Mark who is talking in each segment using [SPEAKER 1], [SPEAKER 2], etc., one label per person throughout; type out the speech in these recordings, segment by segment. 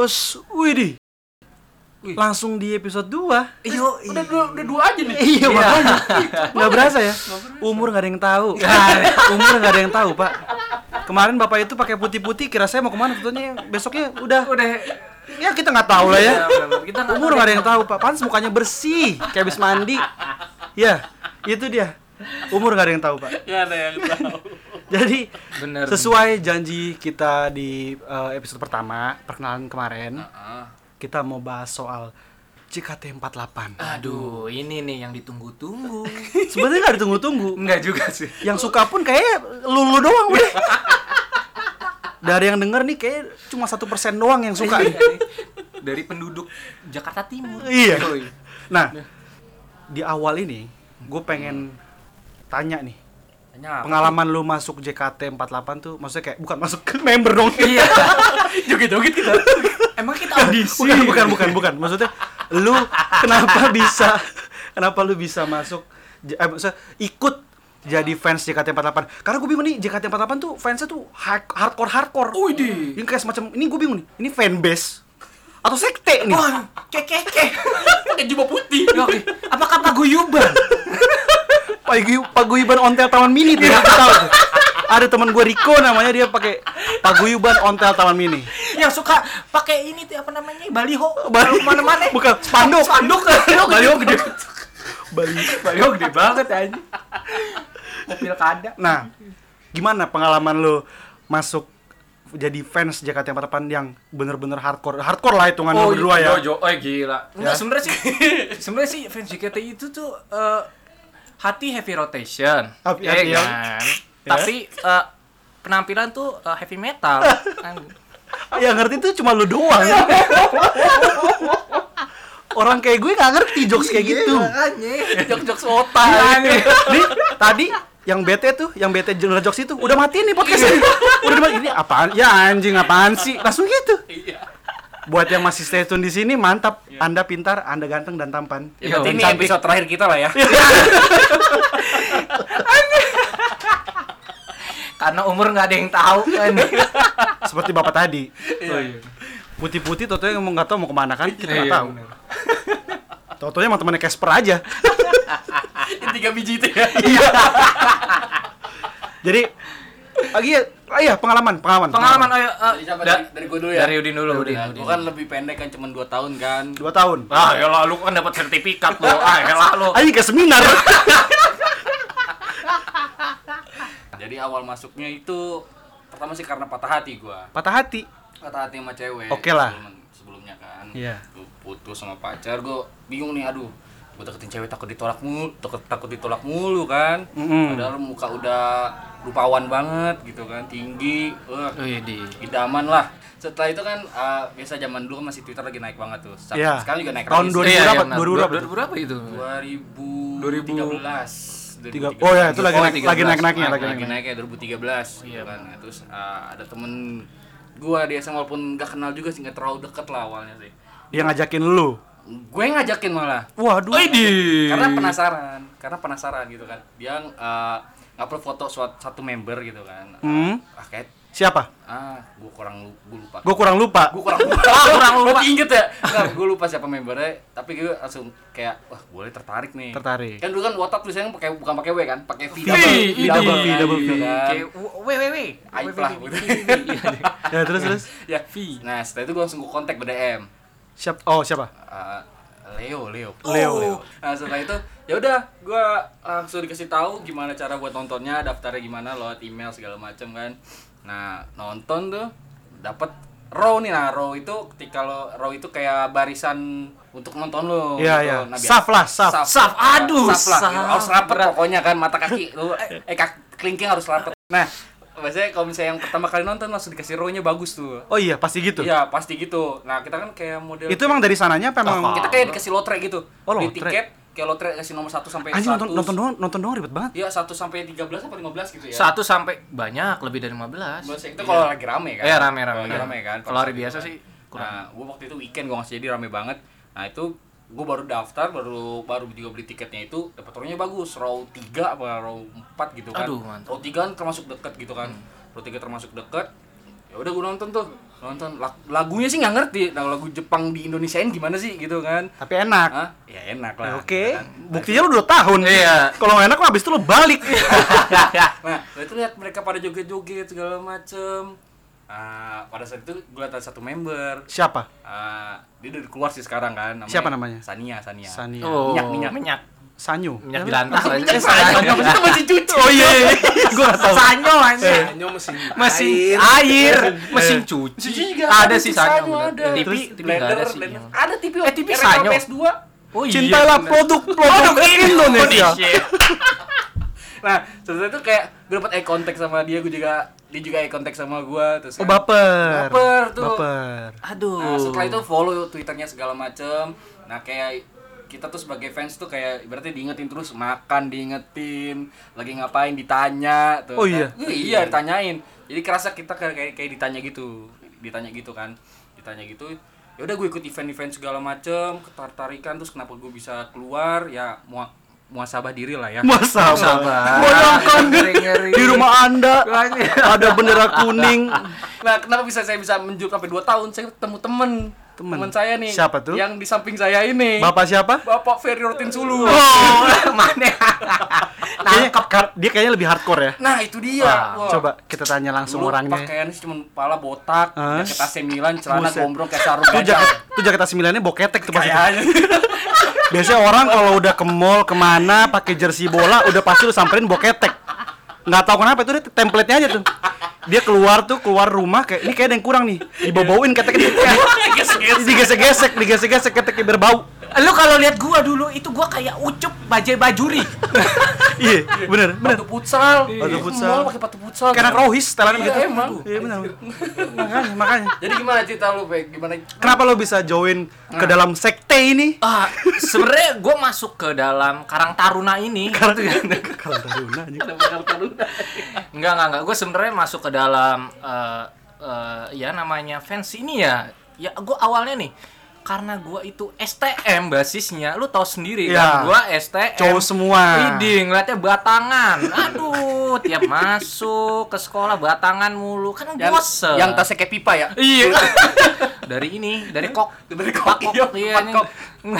[SPEAKER 1] Terus, widih. Langsung di episode 2.
[SPEAKER 2] Iyo,
[SPEAKER 3] Udah dua, udah dua aja nih.
[SPEAKER 1] Iya, makanya. Nggak berasa ya? Umur nggak ada yang tahu. Umur nggak ada yang tahu, Pak. Kemarin Bapak itu pakai putih-putih, kira saya mau kemana tentunya besoknya udah
[SPEAKER 3] Udah.
[SPEAKER 1] ya kita nggak tahu lah ya.
[SPEAKER 3] Kita nggak
[SPEAKER 1] Umur nggak ada yang tahu, Pak. Pantes mukanya bersih, kayak habis mandi. Ya, itu dia. Umur nggak ada yang tahu, Pak.
[SPEAKER 3] nggak ada yang tahu.
[SPEAKER 1] Jadi
[SPEAKER 2] Bener.
[SPEAKER 1] sesuai janji kita di eh, episode pertama perkenalan kemarin,
[SPEAKER 2] Ah,
[SPEAKER 1] kita mau bahas soal JKT48.
[SPEAKER 2] Aduh, ini nih yang ditunggu-tunggu.
[SPEAKER 1] Sebenarnya nggak ditunggu-tunggu.
[SPEAKER 2] Enggak juga sih.
[SPEAKER 1] Yang suka pun kayaknya lulu doang udah. Dari yang denger nih kayak cuma satu persen doang yang suka. nih.
[SPEAKER 2] Iya. Dari penduduk Jakarta Timur.
[SPEAKER 1] Iya.
[SPEAKER 2] Yoi.
[SPEAKER 1] Nah, di awal ini gue pengen tanya nih
[SPEAKER 3] Tanya
[SPEAKER 1] pengalaman lu masuk JKT48 tuh maksudnya kayak bukan masuk ke member dong
[SPEAKER 2] Iya.
[SPEAKER 3] joget-joget kita.
[SPEAKER 2] Emang kita audisi.
[SPEAKER 1] bukan bukan bukan bukan maksudnya lu kenapa bisa kenapa lu bisa masuk j- eh, maksudnya ikut jadi fans JKT48 karena gue bingung nih JKT48 tuh fansnya tuh hard- hardcore hardcore
[SPEAKER 3] Widih.
[SPEAKER 1] ini kayak semacam ini gue bingung nih ini fanbase atau sekte nih
[SPEAKER 2] Kekeke.
[SPEAKER 3] Pakai jubah putih.
[SPEAKER 2] Ya, Oke. Apakah paguyuban?
[SPEAKER 1] Pagi- paguyuban ontel taman mini tuh yang tahu tuh. ada teman gue Riko namanya dia pakai paguyuban ontel taman mini
[SPEAKER 2] Yang suka pakai ini tuh apa namanya? Baliho.
[SPEAKER 1] Bali-
[SPEAKER 2] Baliho mana-mana.
[SPEAKER 1] bukan spanduk
[SPEAKER 2] Spanduk.
[SPEAKER 1] Baliho gede Bali
[SPEAKER 2] Baliho gede banget aja. Mobil kada.
[SPEAKER 1] Nah, gimana pengalaman lo masuk jadi fans JKT48 yang bener-bener hardcore? Hardcore lah hitungan lo berdua ya.
[SPEAKER 2] iya,
[SPEAKER 3] Jo, oh gila.
[SPEAKER 2] Enggak, sebenarnya sih sebenarnya sih fans JKT itu tuh eh, hati heavy rotation.
[SPEAKER 1] Hati-
[SPEAKER 2] ya
[SPEAKER 1] hati- Iya.
[SPEAKER 2] kan? Tapi eh, penampilan tuh eh, heavy metal. Kan.
[SPEAKER 1] Yang Ya, ngerti tuh cuma lo doang. Orang kayak gue gak ngerti jokes kayak gitu.
[SPEAKER 2] Eh, Jok-jok swota. Iya,
[SPEAKER 1] Nih, tadi yang bete tuh, yang bete general jokes itu udah matiin nih podcast ini. Udah mati ini apaan? Ya anjing apaan sih? Langsung gitu. Buat yang masih stay tune di sini mantap. Anda pintar, Anda ganteng dan tampan.
[SPEAKER 2] Ya,
[SPEAKER 3] berarti ini
[SPEAKER 2] cantik.
[SPEAKER 3] episode terakhir kita lah ya.
[SPEAKER 2] Karena umur nggak ada yang tahu kan.
[SPEAKER 1] Iya. Seperti bapak tadi.
[SPEAKER 2] Oh, iya.
[SPEAKER 1] putih-putih toto yang nggak tahu mau kemana kan kita nggak
[SPEAKER 2] Iya,
[SPEAKER 1] tahu totonya emang temannya Casper aja Iya.
[SPEAKER 3] Yang tiga biji itu ya.
[SPEAKER 1] jadi lagi ya ah, iya, pengalaman pengalaman
[SPEAKER 2] Pengalaman ayo eh,
[SPEAKER 4] Dari siapa?
[SPEAKER 2] da-
[SPEAKER 4] dari, dari gue dulu
[SPEAKER 3] Iya.
[SPEAKER 4] ya?
[SPEAKER 2] dari Udin dulu, Udin,
[SPEAKER 4] Udin.
[SPEAKER 2] Udin.
[SPEAKER 4] Gue kan lebih pendek kan, cuma 2 tahun kan
[SPEAKER 1] dua tahun
[SPEAKER 3] Ah, ya lah lu kan dapat sertifikat lu. Ah, ya lah lu.
[SPEAKER 1] aja ke seminar
[SPEAKER 4] Jadi awal masuknya itu Pertama sih karena patah hati gue
[SPEAKER 1] patah hati
[SPEAKER 4] Patah hati sama cewek
[SPEAKER 1] Oke lah.
[SPEAKER 4] Sebelum- Sebelumnya kan
[SPEAKER 1] Iya.
[SPEAKER 4] Gue putus sama pacar, gue bingung nih, aduh Gue deketin cewek takut ditolak mulu, takut, takut ditolak mulu kan
[SPEAKER 1] Mm-mm.
[SPEAKER 4] Padahal muka udah rupawan banget gitu kan, tinggi Wah,
[SPEAKER 2] Oh, iya, di.
[SPEAKER 4] idaman lah setelah itu kan eh, biasa zaman dulu masih Twitter lagi naik banget tuh. Sa-
[SPEAKER 1] Iya.
[SPEAKER 4] Sekarang juga naik
[SPEAKER 1] Tahun 2000
[SPEAKER 4] lagi.
[SPEAKER 2] Iya,
[SPEAKER 1] berapa?
[SPEAKER 2] iya, benar.
[SPEAKER 1] 2000 berapa?
[SPEAKER 2] 2000 berapa itu?
[SPEAKER 4] 2013
[SPEAKER 1] tiga oh ya itu lagi
[SPEAKER 2] Oh,
[SPEAKER 1] naik, lagi
[SPEAKER 2] 13.
[SPEAKER 1] naik naiknya lagi Iya.
[SPEAKER 4] Ah, Nah, lagi,
[SPEAKER 1] naik naik
[SPEAKER 4] naiknya 2013 gitu kan Nah, terus eh, ada temen gua di SMA walaupun gak kenal juga sih gak terlalu deket lah awalnya sih
[SPEAKER 1] dia ngajakin lu
[SPEAKER 4] gue yang ngajakin malah
[SPEAKER 1] waduh
[SPEAKER 4] karena penasaran karena penasaran gitu kan dia eh, ngupload foto suat- satu member gitu kan
[SPEAKER 1] Hmm.
[SPEAKER 4] ah kayak
[SPEAKER 1] siapa
[SPEAKER 4] ah gue kurang lu- gua lupa
[SPEAKER 1] gue kurang lupa
[SPEAKER 4] gue kurang lupa kurang lupa inget ya nggak gue lupa siapa membernya tapi gue langsung kayak wah boleh tertarik nih
[SPEAKER 1] Tertarik.
[SPEAKER 4] kan dulu kan WhatsApp tulisannya pakai bukan pakai W kan pakai V
[SPEAKER 1] V, double V,
[SPEAKER 4] kan,
[SPEAKER 1] double V.
[SPEAKER 4] gitu kan.
[SPEAKER 2] Kayak weh weh weh.
[SPEAKER 4] Aib lah gitu.
[SPEAKER 1] ya terus terus
[SPEAKER 4] ya nah setelah itu gue langsung gue kontak BDM
[SPEAKER 1] siap oh siapa
[SPEAKER 4] Eh, Leo Leo
[SPEAKER 1] Oh. Leo.
[SPEAKER 4] nah setelah itu ya udah gue langsung dikasih tahu gimana cara buat nontonnya daftarnya gimana lewat email segala macem kan nah nonton tuh dapat row nih nah row itu ketika lo row itu kayak barisan untuk nonton lo gitu. Nah,
[SPEAKER 1] Iya, iya. Saf lah, saf.
[SPEAKER 2] Saf, aduh,
[SPEAKER 4] saf lah gitu.
[SPEAKER 2] saf.
[SPEAKER 4] harus rapet pokoknya kan mata kaki lu
[SPEAKER 1] Iya.
[SPEAKER 4] eh eh, kaki kelingking harus rapet nah biasanya kalau misalnya yang pertama kali nonton langsung dikasih row-nya bagus tuh
[SPEAKER 1] oh iya pasti gitu
[SPEAKER 4] Iya pasti gitu. Nah kita kan kayak model
[SPEAKER 1] itu emang dari sananya apa emang
[SPEAKER 4] kita kayak dikasih lotre gitu.
[SPEAKER 1] Oh,
[SPEAKER 4] Beli
[SPEAKER 1] lotre.
[SPEAKER 4] tiket kayak lotre kasih nomor 1 sampai
[SPEAKER 1] anjing
[SPEAKER 4] 100.
[SPEAKER 1] nonton nonton doang nonton doang ribet banget
[SPEAKER 4] Iya, 1 sampai 13 atau 15
[SPEAKER 3] iya.
[SPEAKER 4] gitu ya.
[SPEAKER 2] Satu sampai banyak lebih dari 15.
[SPEAKER 4] Bahasa itu kalau lagi rame kan.
[SPEAKER 2] Iya, rame-rame.
[SPEAKER 4] Kalau lagi rame kan.
[SPEAKER 2] Kalau hari biasa sih kurang.
[SPEAKER 4] Nah, gua waktu itu weekend gua ngasih jadi rame banget. Nah, itu gua baru daftar, baru baru juga beli tiketnya itu dapat row-nya bagus, row 3 apa row 4 gitu kan.
[SPEAKER 2] Aduh, mantap. Hmm.
[SPEAKER 4] Row 3 kan termasuk deket gitu kan. Row 3 termasuk deket. Ya udah gua nonton tuh. nonton Lag- lagunya sih nggak ngerti nah, lagu Jepang di Indonesiain gimana sih gitu kan
[SPEAKER 1] Tapi enak.
[SPEAKER 4] Hah? ya enak
[SPEAKER 1] Nah,
[SPEAKER 4] lah
[SPEAKER 1] Oke, buktinya lu 2 tahun.
[SPEAKER 3] Iya.
[SPEAKER 1] Kalau nggak enak mah abis itu lu balik.
[SPEAKER 4] nah gua itu lihat mereka pada joget-joget segala macem Ah, pada saat itu gue lihat ada satu member
[SPEAKER 1] Siapa?
[SPEAKER 4] Ah, dia udah keluar sih sekarang kan
[SPEAKER 1] Siapa namanya?
[SPEAKER 4] Sania Sania
[SPEAKER 1] Sania.
[SPEAKER 3] Oh.
[SPEAKER 4] Minyak, minyak.
[SPEAKER 3] minyak.
[SPEAKER 1] Sanyu.
[SPEAKER 3] Minyak
[SPEAKER 1] Apa?
[SPEAKER 3] di lantas aja.
[SPEAKER 1] Minyak
[SPEAKER 3] Eh, sanyo.
[SPEAKER 1] Sanyu. masih cuci. Oh iya. iya. Gua nggak tahu. Eh,
[SPEAKER 3] Sanyo anjir.
[SPEAKER 5] Sanyo mesin
[SPEAKER 3] Mesin
[SPEAKER 5] air.
[SPEAKER 3] air, mesin cuci. Ada sih sanyo.
[SPEAKER 4] ada
[SPEAKER 3] bener.
[SPEAKER 4] Terus
[SPEAKER 3] TV, TV nggak ada
[SPEAKER 4] blender,
[SPEAKER 3] sih.
[SPEAKER 4] blender. ada TV
[SPEAKER 3] Eh, TV
[SPEAKER 4] RKPS
[SPEAKER 3] Sanyo.
[SPEAKER 4] 2
[SPEAKER 3] Oh
[SPEAKER 2] Iya,
[SPEAKER 1] Cintailah produk produk
[SPEAKER 2] Oh,
[SPEAKER 1] Indonesia.
[SPEAKER 4] nah setelah itu kayak gue dapet eye contact sama dia gue juga dia juga eye contact sama gue terus
[SPEAKER 1] Oh,
[SPEAKER 4] kan. kayak-
[SPEAKER 1] baper.
[SPEAKER 4] Baper tuh.
[SPEAKER 1] Baper.
[SPEAKER 2] Aduh.
[SPEAKER 4] nah, setelah itu follow twitternya segala macem nah kayak kita tuh sebagai fans tuh kayak berarti diingetin terus makan diingetin lagi ngapain ditanya tuh
[SPEAKER 1] Oh,
[SPEAKER 4] kan.
[SPEAKER 1] iya?
[SPEAKER 4] Eh, iya ditanyain jadi kerasa kita kayak kayak, kayak ditanya gitu ditanya gitu kan ditanya gitu ya udah gue ikut event-event segala macem ketertarikan terus kenapa gue bisa keluar ya mua muasabah diri lah ya
[SPEAKER 1] Masa
[SPEAKER 3] Sabar.
[SPEAKER 1] Bayangkan
[SPEAKER 3] Ngeri-ngeri.
[SPEAKER 1] di rumah Anda ada bendera kuning.
[SPEAKER 4] Nah, kenapa bisa saya bisa menjual sampai 2 tahun? Saya ketemu temen
[SPEAKER 1] Temen?
[SPEAKER 4] temen, saya nih.
[SPEAKER 1] Siapa tuh?
[SPEAKER 4] Yang di samping saya ini.
[SPEAKER 1] Bapak siapa?
[SPEAKER 4] Bapak Ferry Rotin Sulu.
[SPEAKER 3] Oh, mana?
[SPEAKER 1] Nangkep Dia kayaknya lebih hardcore ya.
[SPEAKER 4] Nah, itu dia.
[SPEAKER 1] Wah, Coba kita tanya langsung orangnya.
[SPEAKER 4] Pakaiannya sih cuma kepala botak,
[SPEAKER 1] Hah?
[SPEAKER 4] jaket AC Milan, celana
[SPEAKER 1] Buset.
[SPEAKER 4] gombrong kayak sarung
[SPEAKER 1] Tuh
[SPEAKER 4] gajah.
[SPEAKER 1] jaket, tuh jaket A9-nya boketek tuh pasti.
[SPEAKER 4] Kayaknya.
[SPEAKER 1] Biasanya orang kalau udah ke mall kemana pakai jersey bola udah pasti lu samperin boketek. Nggak tahu kenapa itu dia template-nya aja tuh. Dia keluar tuh keluar rumah kayak ini kayak ada yang kurang nih. Dibobowin keteknya digesek-gesek, digesek-gesek keteknya berbau.
[SPEAKER 2] Lu kalau lihat gua dulu itu gua kayak ucup bajai bajuri.
[SPEAKER 1] Iya, bener, bener.
[SPEAKER 4] Batu futsal.
[SPEAKER 1] Batu
[SPEAKER 4] Ke
[SPEAKER 1] futsal.
[SPEAKER 4] mall pakai batu futsal.
[SPEAKER 1] Kayak anak rohis telannya
[SPEAKER 4] Iya,
[SPEAKER 1] gitu.
[SPEAKER 4] emang.
[SPEAKER 1] Iya, bener. Makanya, makanya.
[SPEAKER 4] Jadi gimana cerita lu, Pak? Gimana?
[SPEAKER 1] Kenapa lo bisa join ke dalam sekte ini?
[SPEAKER 2] Ah, sebenarnya gua masuk ke dalam Karang Taruna ini.
[SPEAKER 1] Karena kalau Taruna anjing.
[SPEAKER 2] Enggak, enggak, enggak. Gue sebenarnya masuk ke dalam eh eh, ya namanya fans ini ya. Ya gue awalnya nih karena gua itu STM basisnya. Lu tahu sendiri
[SPEAKER 4] Iya.
[SPEAKER 1] Ya.
[SPEAKER 2] kan gua STM.
[SPEAKER 1] Cowok semua.
[SPEAKER 2] Widih, ngeliatnya batangan. Aduh, tiap masuk ke sekolah batangan mulu. Kan
[SPEAKER 4] Yang,
[SPEAKER 2] bosen.
[SPEAKER 4] yang tasnya kayak pipa ya?
[SPEAKER 2] Iya. dari ini, dari kok.
[SPEAKER 4] Dari kok, iya,
[SPEAKER 2] Iya,
[SPEAKER 4] kok.
[SPEAKER 2] ini.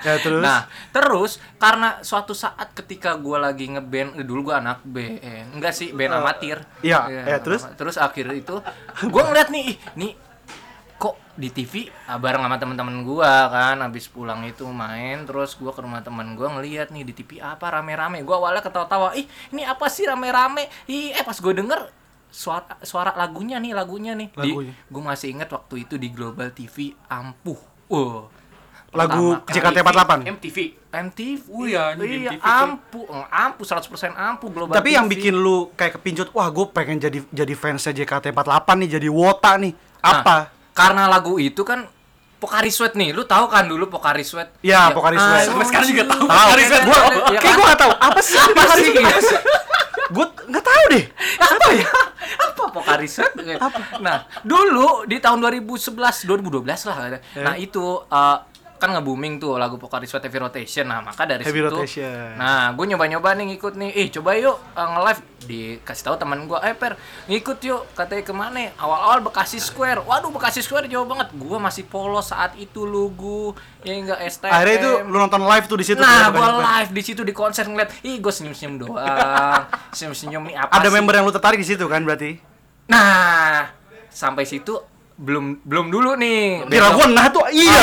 [SPEAKER 1] Ya terus.
[SPEAKER 2] Nah, terus karena suatu saat ketika gue lagi ngeband, eh, dulu gue anak B, eh, enggak sih band amatir.
[SPEAKER 1] iya, eh, terus?
[SPEAKER 2] Terus akhir itu gue ngeliat nih, ih, nih kok di TV ah, bareng sama teman-teman gue kan, habis pulang itu main, terus gue ke rumah teman gue ngeliat nih di TV apa rame-rame. Gue awalnya ketawa-tawa, ih ini apa sih rame-rame? Ih, eh pas gue denger suara suara lagunya nih lagunya nih
[SPEAKER 1] Lagunya.
[SPEAKER 2] gue masih inget waktu itu di Global TV ampuh wow
[SPEAKER 1] Lagu
[SPEAKER 2] Pertama kali.
[SPEAKER 1] JKT48.
[SPEAKER 4] MTV.
[SPEAKER 2] MTV.
[SPEAKER 4] Oh iya, anjing,
[SPEAKER 2] iya,
[SPEAKER 4] MTV tuh.
[SPEAKER 2] ampuh, Eh, ampuh 100% ampuh global.
[SPEAKER 1] Tapi yang
[SPEAKER 2] TV.
[SPEAKER 1] bikin lu kayak kepincut, wah gue pengen jadi jadi fansnya JKT48 nih, jadi wota nih. Apa?
[SPEAKER 2] Nah, karena lagu itu kan Pokari Sweat nih. Lu tahu kan dulu Pokari Sweat?
[SPEAKER 1] Ya,
[SPEAKER 2] Iya.
[SPEAKER 1] Pocari Sweat.
[SPEAKER 2] ayo,
[SPEAKER 1] Sampai
[SPEAKER 4] sekarang juga tahu
[SPEAKER 2] iya,
[SPEAKER 1] Tahu?
[SPEAKER 2] iya,
[SPEAKER 1] Gua
[SPEAKER 2] iya,
[SPEAKER 1] kayak gue gak tahu. Apa sih? Ya kan? Apa sih? Gue nggak tahu deh. Apa ya?
[SPEAKER 2] apa Pokari Sweat? Nah, dulu di tahun 2011, 2012 lah. Nah, itu eh, kan nge-booming tuh lagu Pokari Sweat Heavy Rotation. Nah, maka dari
[SPEAKER 1] Heavy
[SPEAKER 2] situ
[SPEAKER 1] Rotation.
[SPEAKER 2] Nah, gue nyoba-nyoba nih ngikut nih. Ih, coba yuk eh, nge-live dikasih tahu teman gua, "Eh, Per, ngikut yuk." Katanya kemana ya? Awal-awal Bekasi Square. Waduh, Bekasi Square jauh banget. Gua masih polos saat itu lugu. Ya enggak STM.
[SPEAKER 1] Akhirnya itu lu nonton live tuh di situ.
[SPEAKER 2] Nah,
[SPEAKER 1] Pocari
[SPEAKER 2] gua
[SPEAKER 1] Sweat.
[SPEAKER 2] live di situ di konser ngeliat, "Ih, gua senyum-senyum doang." Senyum-senyum nih apa
[SPEAKER 1] Ada
[SPEAKER 2] sih?
[SPEAKER 1] member yang lu tertarik di situ kan berarti?
[SPEAKER 2] Nah, sampai situ belum belum dulu nih.
[SPEAKER 1] Di Raguan, nah tuh iya.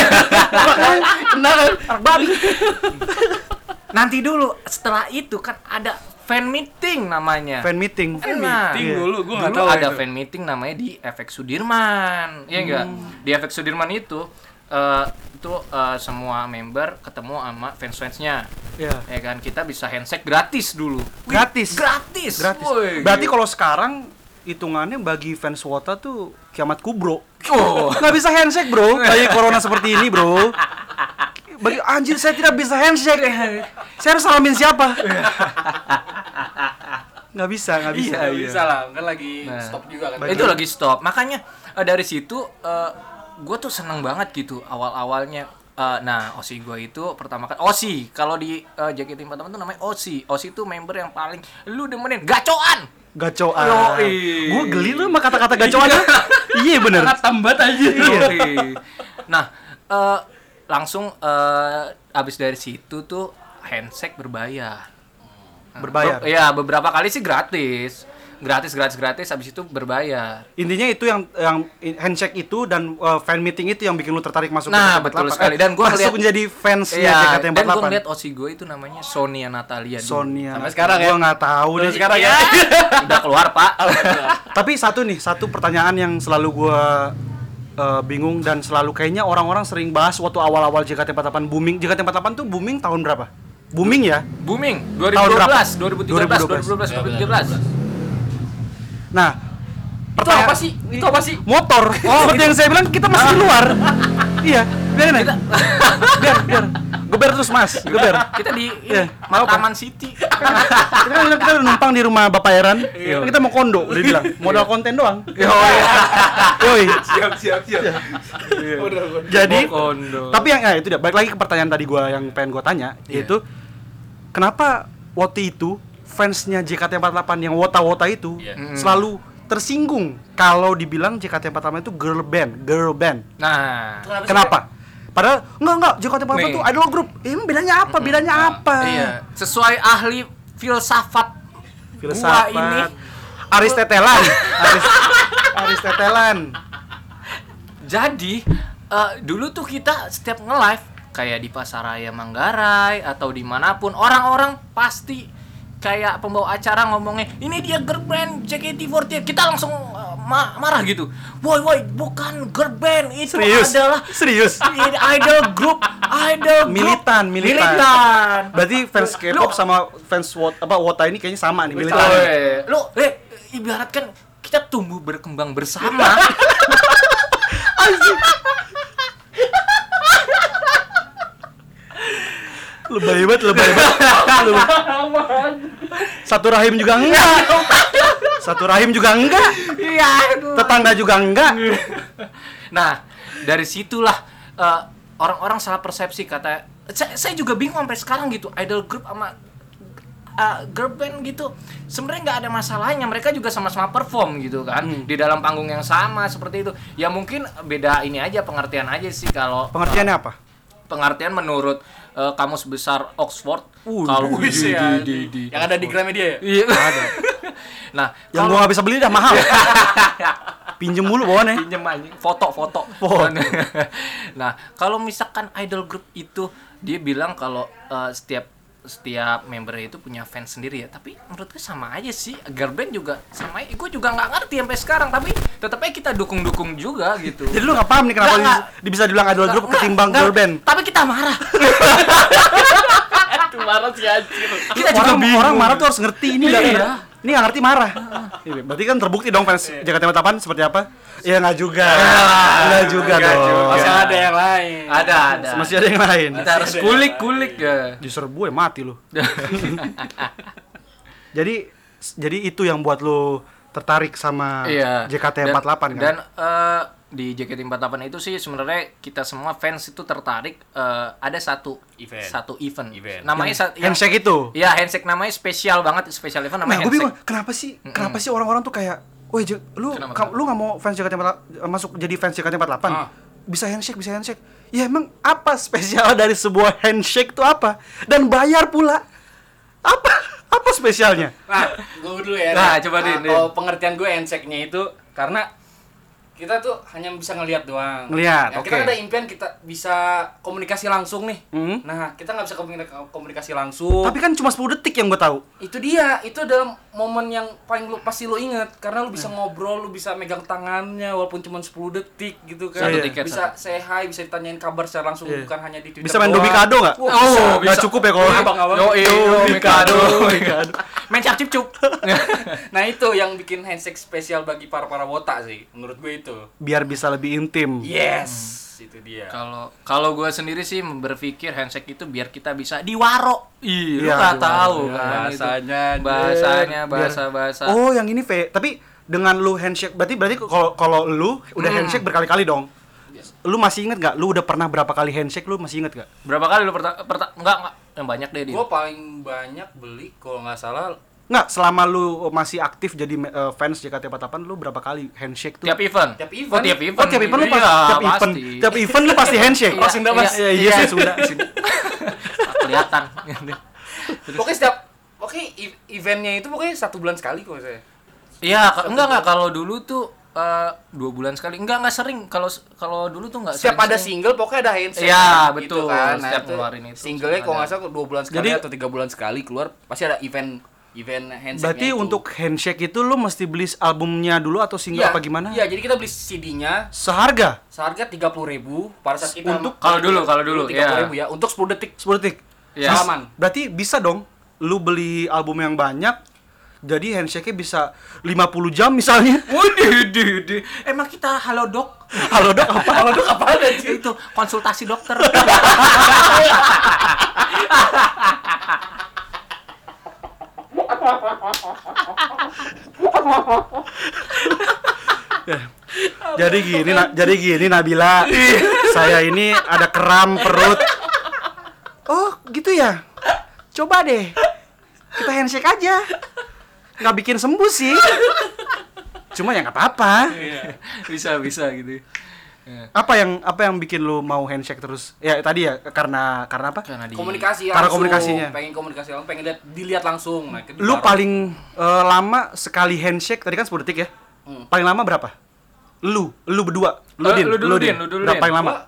[SPEAKER 2] Anak babi. Nanti dulu setelah itu kan ada fan meeting namanya.
[SPEAKER 1] Fan meeting. Iya.
[SPEAKER 2] Nah,
[SPEAKER 4] meeting dulu, gua nggak
[SPEAKER 2] dulu
[SPEAKER 4] tahu
[SPEAKER 2] ada
[SPEAKER 4] itu.
[SPEAKER 2] fan meeting namanya di efek Sudirman, Iya enggak?
[SPEAKER 1] Hmm.
[SPEAKER 2] Di efek Sudirman itu eh, itu eh, semua member ketemu sama fans-fansnya.
[SPEAKER 1] Iya.
[SPEAKER 2] Ya kan kita bisa handshake gratis dulu. Wih,
[SPEAKER 1] Gratis.
[SPEAKER 2] Gratis.
[SPEAKER 1] Gratis.
[SPEAKER 2] Woi,
[SPEAKER 1] Berarti
[SPEAKER 2] gila.
[SPEAKER 1] kalau sekarang hitungannya bagi fans Wota tuh kiamat kubro.
[SPEAKER 2] Oh.
[SPEAKER 1] Nggak bisa handshake bro, lagi corona seperti ini bro. Bagi anjir saya tidak bisa handshake. Saya harus salamin siapa? Nggak bisa, nggak bisa.
[SPEAKER 4] Iya, bisa lah. Kan lagi
[SPEAKER 2] Nah.
[SPEAKER 4] stop juga kan.
[SPEAKER 2] itu lagi stop makanya eh, dari situ gue tuh seneng banget gitu awal awalnya nah osi gue itu pertama kali osi kalau di eh, JKT48 tuh namanya osi osi itu member yang paling lu demenin gacoan
[SPEAKER 1] gacoan.
[SPEAKER 3] Yoi.
[SPEAKER 1] Gue geli lu sama kata-kata gacoannya. iya bener.
[SPEAKER 4] Sangat tambat aja.
[SPEAKER 2] nah eh, langsung eh, abis dari situ tuh handshake berbayar
[SPEAKER 1] Berbayar.
[SPEAKER 2] Be- ya beberapa kali sih gratis gratis gratis gratis abis itu berbayar
[SPEAKER 1] Intinya itu yang yang handshake itu dan uh, fan meeting itu yang bikin lu tertarik masuk
[SPEAKER 2] Nah,
[SPEAKER 1] JKT48.
[SPEAKER 2] betul sekali. Dan gua
[SPEAKER 1] Eh, masuk
[SPEAKER 2] ngeliat-
[SPEAKER 1] menjadi fans
[SPEAKER 2] Iya,
[SPEAKER 1] JKT48.
[SPEAKER 2] dan gue ngeliat Osi gue itu namanya Sonia Natalia dulu.
[SPEAKER 1] Sonia. Iya.
[SPEAKER 4] Sampai sekarang ya?
[SPEAKER 1] Gua nggak tahu deh. Iya.
[SPEAKER 4] sekarang ya.
[SPEAKER 2] Udah keluar pak
[SPEAKER 1] Tapi satu nih, satu pertanyaan yang selalu gua uh, bingung dan selalu kayaknya orang-orang sering bahas waktu awal-awal JKT48 booming. JKT48 tuh booming tahun berapa? Booming ya?
[SPEAKER 2] Booming
[SPEAKER 1] Tahun berapa?
[SPEAKER 2] 2012,
[SPEAKER 3] Iya,
[SPEAKER 2] 2013, 2012, 2013
[SPEAKER 1] Nah,
[SPEAKER 4] Itu apa sih? Itu apa sih?
[SPEAKER 1] motor. Oh, seperti yang saya bilang kita
[SPEAKER 4] Ah.
[SPEAKER 1] masih di luar. iya, biarin aja. biar, biar. Geber terus mas, geber.
[SPEAKER 2] Kita di
[SPEAKER 1] Iya,
[SPEAKER 2] ini, Matraman City
[SPEAKER 1] Kita kan kita udah numpang di rumah Bapak Heran.
[SPEAKER 4] Iya.
[SPEAKER 1] Kita mau kondo, udah bilang. Modal konten doang. iya.
[SPEAKER 2] Iya.
[SPEAKER 4] Nah.
[SPEAKER 1] Yoi.
[SPEAKER 3] siap siap siap
[SPEAKER 1] Iya.
[SPEAKER 3] Iya.
[SPEAKER 1] Jadi,
[SPEAKER 2] Mau Oh, kondo. Iya.
[SPEAKER 1] tapi yang ya itu dia. Balik lagi ke pertanyaan tadi gua yang pengen gua tanya, yaitu kenapa waktu itu fansnya JKT48 yang wota-wota itu
[SPEAKER 4] Iya.
[SPEAKER 1] selalu tersinggung kalau dibilang JKT48 itu girl band, girl band.
[SPEAKER 2] Nah
[SPEAKER 4] sih,
[SPEAKER 1] Kenapa? Padahal enggak enggak JKT48
[SPEAKER 2] Nih.
[SPEAKER 1] tuh idol group. Eh, Emang bedanya apa? Bedanya apa?
[SPEAKER 2] Iya Sesuai ahli filsafat
[SPEAKER 1] Filsafat.
[SPEAKER 2] Gua ini
[SPEAKER 1] Aris Tetelan. Aris, Aris Tetelan.
[SPEAKER 2] Jadi eh, Dulu tuh kita setiap nge-live Kayak di Pasaraya Manggarai Atau dimanapun Orang-orang pasti Kayak pembawa acara ngomongnya Ini dia girl band JKT48 Kita langsung eh, ma- marah gitu Woi woi bukan girl band Itu
[SPEAKER 1] Serius.
[SPEAKER 2] adalah
[SPEAKER 1] Serius.
[SPEAKER 2] Ini idol group idol group
[SPEAKER 1] Militan, militan.
[SPEAKER 2] militan.
[SPEAKER 1] Berarti fans K-pop
[SPEAKER 2] Lu-
[SPEAKER 1] sama fans Wota, apa Wota ini kayaknya sama nih militan.
[SPEAKER 2] Woi,
[SPEAKER 1] iya.
[SPEAKER 2] lu eh, ibaratkan kita tumbuh berkembang bersama
[SPEAKER 1] Lebay banget, lebay banget. Lebay. Satu rahim juga enggak. Satu rahim juga enggak.
[SPEAKER 2] iya aduh.
[SPEAKER 1] Tetangga juga enggak.
[SPEAKER 2] nah dari situlah eh, orang-orang salah persepsi kata saya, saya juga bingung sampai sekarang gitu idol group sama eh, girl band gitu sebenarnya nggak ada masalahnya mereka juga sama-sama perform gitu kan
[SPEAKER 1] Hmm.
[SPEAKER 2] di dalam panggung yang sama seperti itu ya mungkin beda ini aja pengertian aja sih kalau eh,
[SPEAKER 1] Pengertiannya apa?
[SPEAKER 2] pengertian menurut eh, kamus besar Oxford
[SPEAKER 1] Uh,
[SPEAKER 2] kalau
[SPEAKER 1] di-
[SPEAKER 4] Wih, ya. Yang ada di Gramedia ya?
[SPEAKER 2] iya nah
[SPEAKER 1] Yang gua nggak bisa beli dah mahal. Pinjem mulu bawaannya.
[SPEAKER 2] pinjem anjing foto foto Kan.
[SPEAKER 1] Foto.
[SPEAKER 2] nah kalau misalkan idol group itu dia bilang kalau eh, setiap setiap member itu punya fans sendiri ya tapi menurut gue sama aja sih girl band juga sama aja gue juga nggak ngerti sampai sekarang tapi tetap aja kita dukung dukung juga gitu
[SPEAKER 1] Jadi lu nggak paham nih kenapa
[SPEAKER 2] Nggak,
[SPEAKER 1] di- bisa dibilang idol group
[SPEAKER 2] Nggak,
[SPEAKER 1] ketimbang
[SPEAKER 2] nggak,
[SPEAKER 1] girl band.
[SPEAKER 2] tapi kita marah
[SPEAKER 4] Aduh, marah sih anjir.
[SPEAKER 2] kita juga
[SPEAKER 1] orang,
[SPEAKER 2] bingung.
[SPEAKER 1] orang marah tuh harus ngerti ini nggak
[SPEAKER 2] Iya.
[SPEAKER 1] ini nggak ngerti marah Iya, berarti kan terbukti dong fans JKT48 seperti apa
[SPEAKER 2] Iya,
[SPEAKER 1] ya nggak juga nggak juga dong
[SPEAKER 4] Masih ada yang lain.
[SPEAKER 2] ada ada
[SPEAKER 1] masih ada yang lain
[SPEAKER 2] kita harus kulik kulik ya
[SPEAKER 1] diserbu ya mati lu jadi jadi itu yang buat lu tertarik sama
[SPEAKER 2] Iya.
[SPEAKER 1] JKT48 kan?
[SPEAKER 2] Dan, dan eh, di JKT48 itu sih sebenarnya kita semua fans itu tertarik eh, ada satu
[SPEAKER 4] Event.
[SPEAKER 2] satu event.
[SPEAKER 4] Event.
[SPEAKER 2] Namanya sa- yang-
[SPEAKER 1] handshake itu
[SPEAKER 2] Iya, handshake namanya spesial banget, spesial
[SPEAKER 1] nah
[SPEAKER 2] event namanya
[SPEAKER 1] gue bingung
[SPEAKER 2] handshake.
[SPEAKER 1] kenapa sih kenapa sih orang-orang tuh kayak Woi, Je- lu
[SPEAKER 2] Kenapa,
[SPEAKER 1] ka- lu nggak mau fans JKT48 masuk jadi fans JKT48?
[SPEAKER 4] Ah.
[SPEAKER 1] Bisa handshake, bisa handshake. Ya emang apa spesial dari sebuah handshake tuh apa? Dan bayar pula. Apa apa spesialnya?
[SPEAKER 4] Nah, gue dulu ya.
[SPEAKER 2] Nah,
[SPEAKER 4] Ren.
[SPEAKER 2] coba, Din, Din.
[SPEAKER 4] Kalau pengertian gue enseknya itu karena kita tuh hanya bisa ngelihat doang.
[SPEAKER 1] Ngelihat,
[SPEAKER 4] Ya, Kita
[SPEAKER 1] oke.
[SPEAKER 4] ada impian kita bisa komunikasi langsung nih.
[SPEAKER 1] Hmm.
[SPEAKER 4] Nah, kita nggak bisa komunika- komunikasi langsung.
[SPEAKER 1] Tapi kan cuma 10 detik yang gue tahu.
[SPEAKER 4] itu dia, itu adalah momen yang paling lu pasti lu inget karena lu bisa ngobrol, lu bisa megang tangannya walaupun cuma 10 detik gitu kan.
[SPEAKER 2] Satu
[SPEAKER 4] Iya.
[SPEAKER 2] tiket,
[SPEAKER 4] bisa say hi, bisa ditanyain kabar secara langsung
[SPEAKER 1] Iya.
[SPEAKER 4] bukan hanya di Twitter.
[SPEAKER 1] Bisa main
[SPEAKER 4] doang.
[SPEAKER 1] domikado nggak?
[SPEAKER 4] Wah,
[SPEAKER 2] Oh,
[SPEAKER 4] bisa.
[SPEAKER 2] bisa.
[SPEAKER 1] Nggak cukup ya kalau
[SPEAKER 4] Iya, Bang, abang.
[SPEAKER 2] Yoi, yoi, kado.
[SPEAKER 1] Domikado.
[SPEAKER 2] Main cap cip cup.
[SPEAKER 4] Nah, itu yang bikin handshake spesial bagi para-para wota sih menurut gue itu.
[SPEAKER 1] Biar bisa lebih intim.
[SPEAKER 4] Yes, itu dia.
[SPEAKER 2] Hmm. Kalau kalau gue sendiri sih berpikir handshake itu biar kita bisa diwaro. Iya, lu
[SPEAKER 1] Iya,
[SPEAKER 2] nggak
[SPEAKER 1] diwaro.
[SPEAKER 2] tahu kan
[SPEAKER 4] Iya,
[SPEAKER 2] itu.
[SPEAKER 4] bahasanya, Jen.
[SPEAKER 2] bahasanya
[SPEAKER 1] Biar-
[SPEAKER 2] bahasa bahasa.
[SPEAKER 1] Oh, yang ini V. Tapi dengan lu handshake berarti berarti kalau kalau lu udah
[SPEAKER 2] Hmm.
[SPEAKER 1] handshake berkali-kali dong. Lu masih inget nggak? Lu udah pernah berapa kali handshake? Lu masih inget nggak?
[SPEAKER 2] Berapa kali lu pertama perta enggak enggak yang banyak deh dia.
[SPEAKER 4] Gue paling banyak beli kalau nggak salah
[SPEAKER 1] Nggak, selama lu masih aktif jadi eh, fans JKT48 lu berapa kali handshake tuh?
[SPEAKER 2] tiap event
[SPEAKER 4] Tiap event.
[SPEAKER 2] oh, tiap event
[SPEAKER 1] Oh, tiap event lu pas,
[SPEAKER 2] Iya,
[SPEAKER 1] tiap event,
[SPEAKER 2] pasti.
[SPEAKER 1] tiap event lu pasti handshake.
[SPEAKER 2] Iya, Oh, Sunda, Mas.
[SPEAKER 1] Iya, iya, sih, Sunda.
[SPEAKER 2] kelihatan
[SPEAKER 4] Pokoknya setiap pokoknya e- eventnya itu pokoknya satu bulan sekali kalau saya.
[SPEAKER 2] iya ka- enggak enggak kalau dulu tuh eh, dua bulan sekali enggak enggak sering kalau kalau dulu tuh enggak
[SPEAKER 4] Setiap ada
[SPEAKER 2] sering-sering.
[SPEAKER 4] single pokoknya ada handshake.
[SPEAKER 2] Iya,
[SPEAKER 4] gitu
[SPEAKER 2] betul.
[SPEAKER 4] Nah,
[SPEAKER 2] Setiap
[SPEAKER 4] itu
[SPEAKER 2] ngeluarin itu
[SPEAKER 4] Singlenya kalau
[SPEAKER 2] ada.
[SPEAKER 4] nggak salah dua bulan sekali
[SPEAKER 1] Jadi-
[SPEAKER 4] atau tiga bulan sekali keluar pasti ada event event handshake.
[SPEAKER 1] Berarti untuk handshake itu lu mesti beli albumnya dulu atau single apa gimana?
[SPEAKER 4] Iya, jadi kita beli CD-nya
[SPEAKER 1] Seharga
[SPEAKER 4] seharga tiga puluh ribu pada saat kita
[SPEAKER 1] Untuk-
[SPEAKER 2] Kalau dulu, kalau dulu,
[SPEAKER 4] tiga
[SPEAKER 2] iya.
[SPEAKER 4] ribu ya untuk 10 detik
[SPEAKER 1] 10 detik.
[SPEAKER 2] Iya.
[SPEAKER 4] Salaman.
[SPEAKER 1] Berarti bisa dong lu beli album yang banyak jadi handshake-nya bisa 50 jam misalnya.
[SPEAKER 2] Waduh, duh, duh. Emang kita halo dok?
[SPEAKER 1] Halo dok apa? Halo dok apa?
[SPEAKER 2] Itu konsultasi dokter.
[SPEAKER 1] Jadi gini, Na- jadi gini Nabila. Saya ini ada kram perut. Oh, gitu ya. Coba deh. Kita handshake aja. Nggak bikin sembuh sih. Cuma ya nggak apa-apa.
[SPEAKER 2] Iya.
[SPEAKER 1] Iya.
[SPEAKER 2] bisa, bisa gitu.
[SPEAKER 1] Apa yang apa yang bikin lu mau handshake terus? Ya tadi ya karena karena apa?
[SPEAKER 2] Karena di
[SPEAKER 4] komunikasi
[SPEAKER 1] Karena
[SPEAKER 4] langsung,
[SPEAKER 1] komunikasinya.
[SPEAKER 4] pengen komunikasi langsung, pengen lihat dilihat langsung. Nah, itu
[SPEAKER 1] Lu
[SPEAKER 4] baru.
[SPEAKER 1] paling eh, lama sekali handshake tadi kan 10 detik ya.
[SPEAKER 4] Hmm.
[SPEAKER 1] Paling lama berapa? Lu, lu berdua, lu
[SPEAKER 2] Eh,
[SPEAKER 1] din,
[SPEAKER 2] lu dulu,
[SPEAKER 1] lu din.
[SPEAKER 2] Din, lu dulu,
[SPEAKER 1] Berapa
[SPEAKER 2] Din.
[SPEAKER 1] yang lama?
[SPEAKER 4] Gua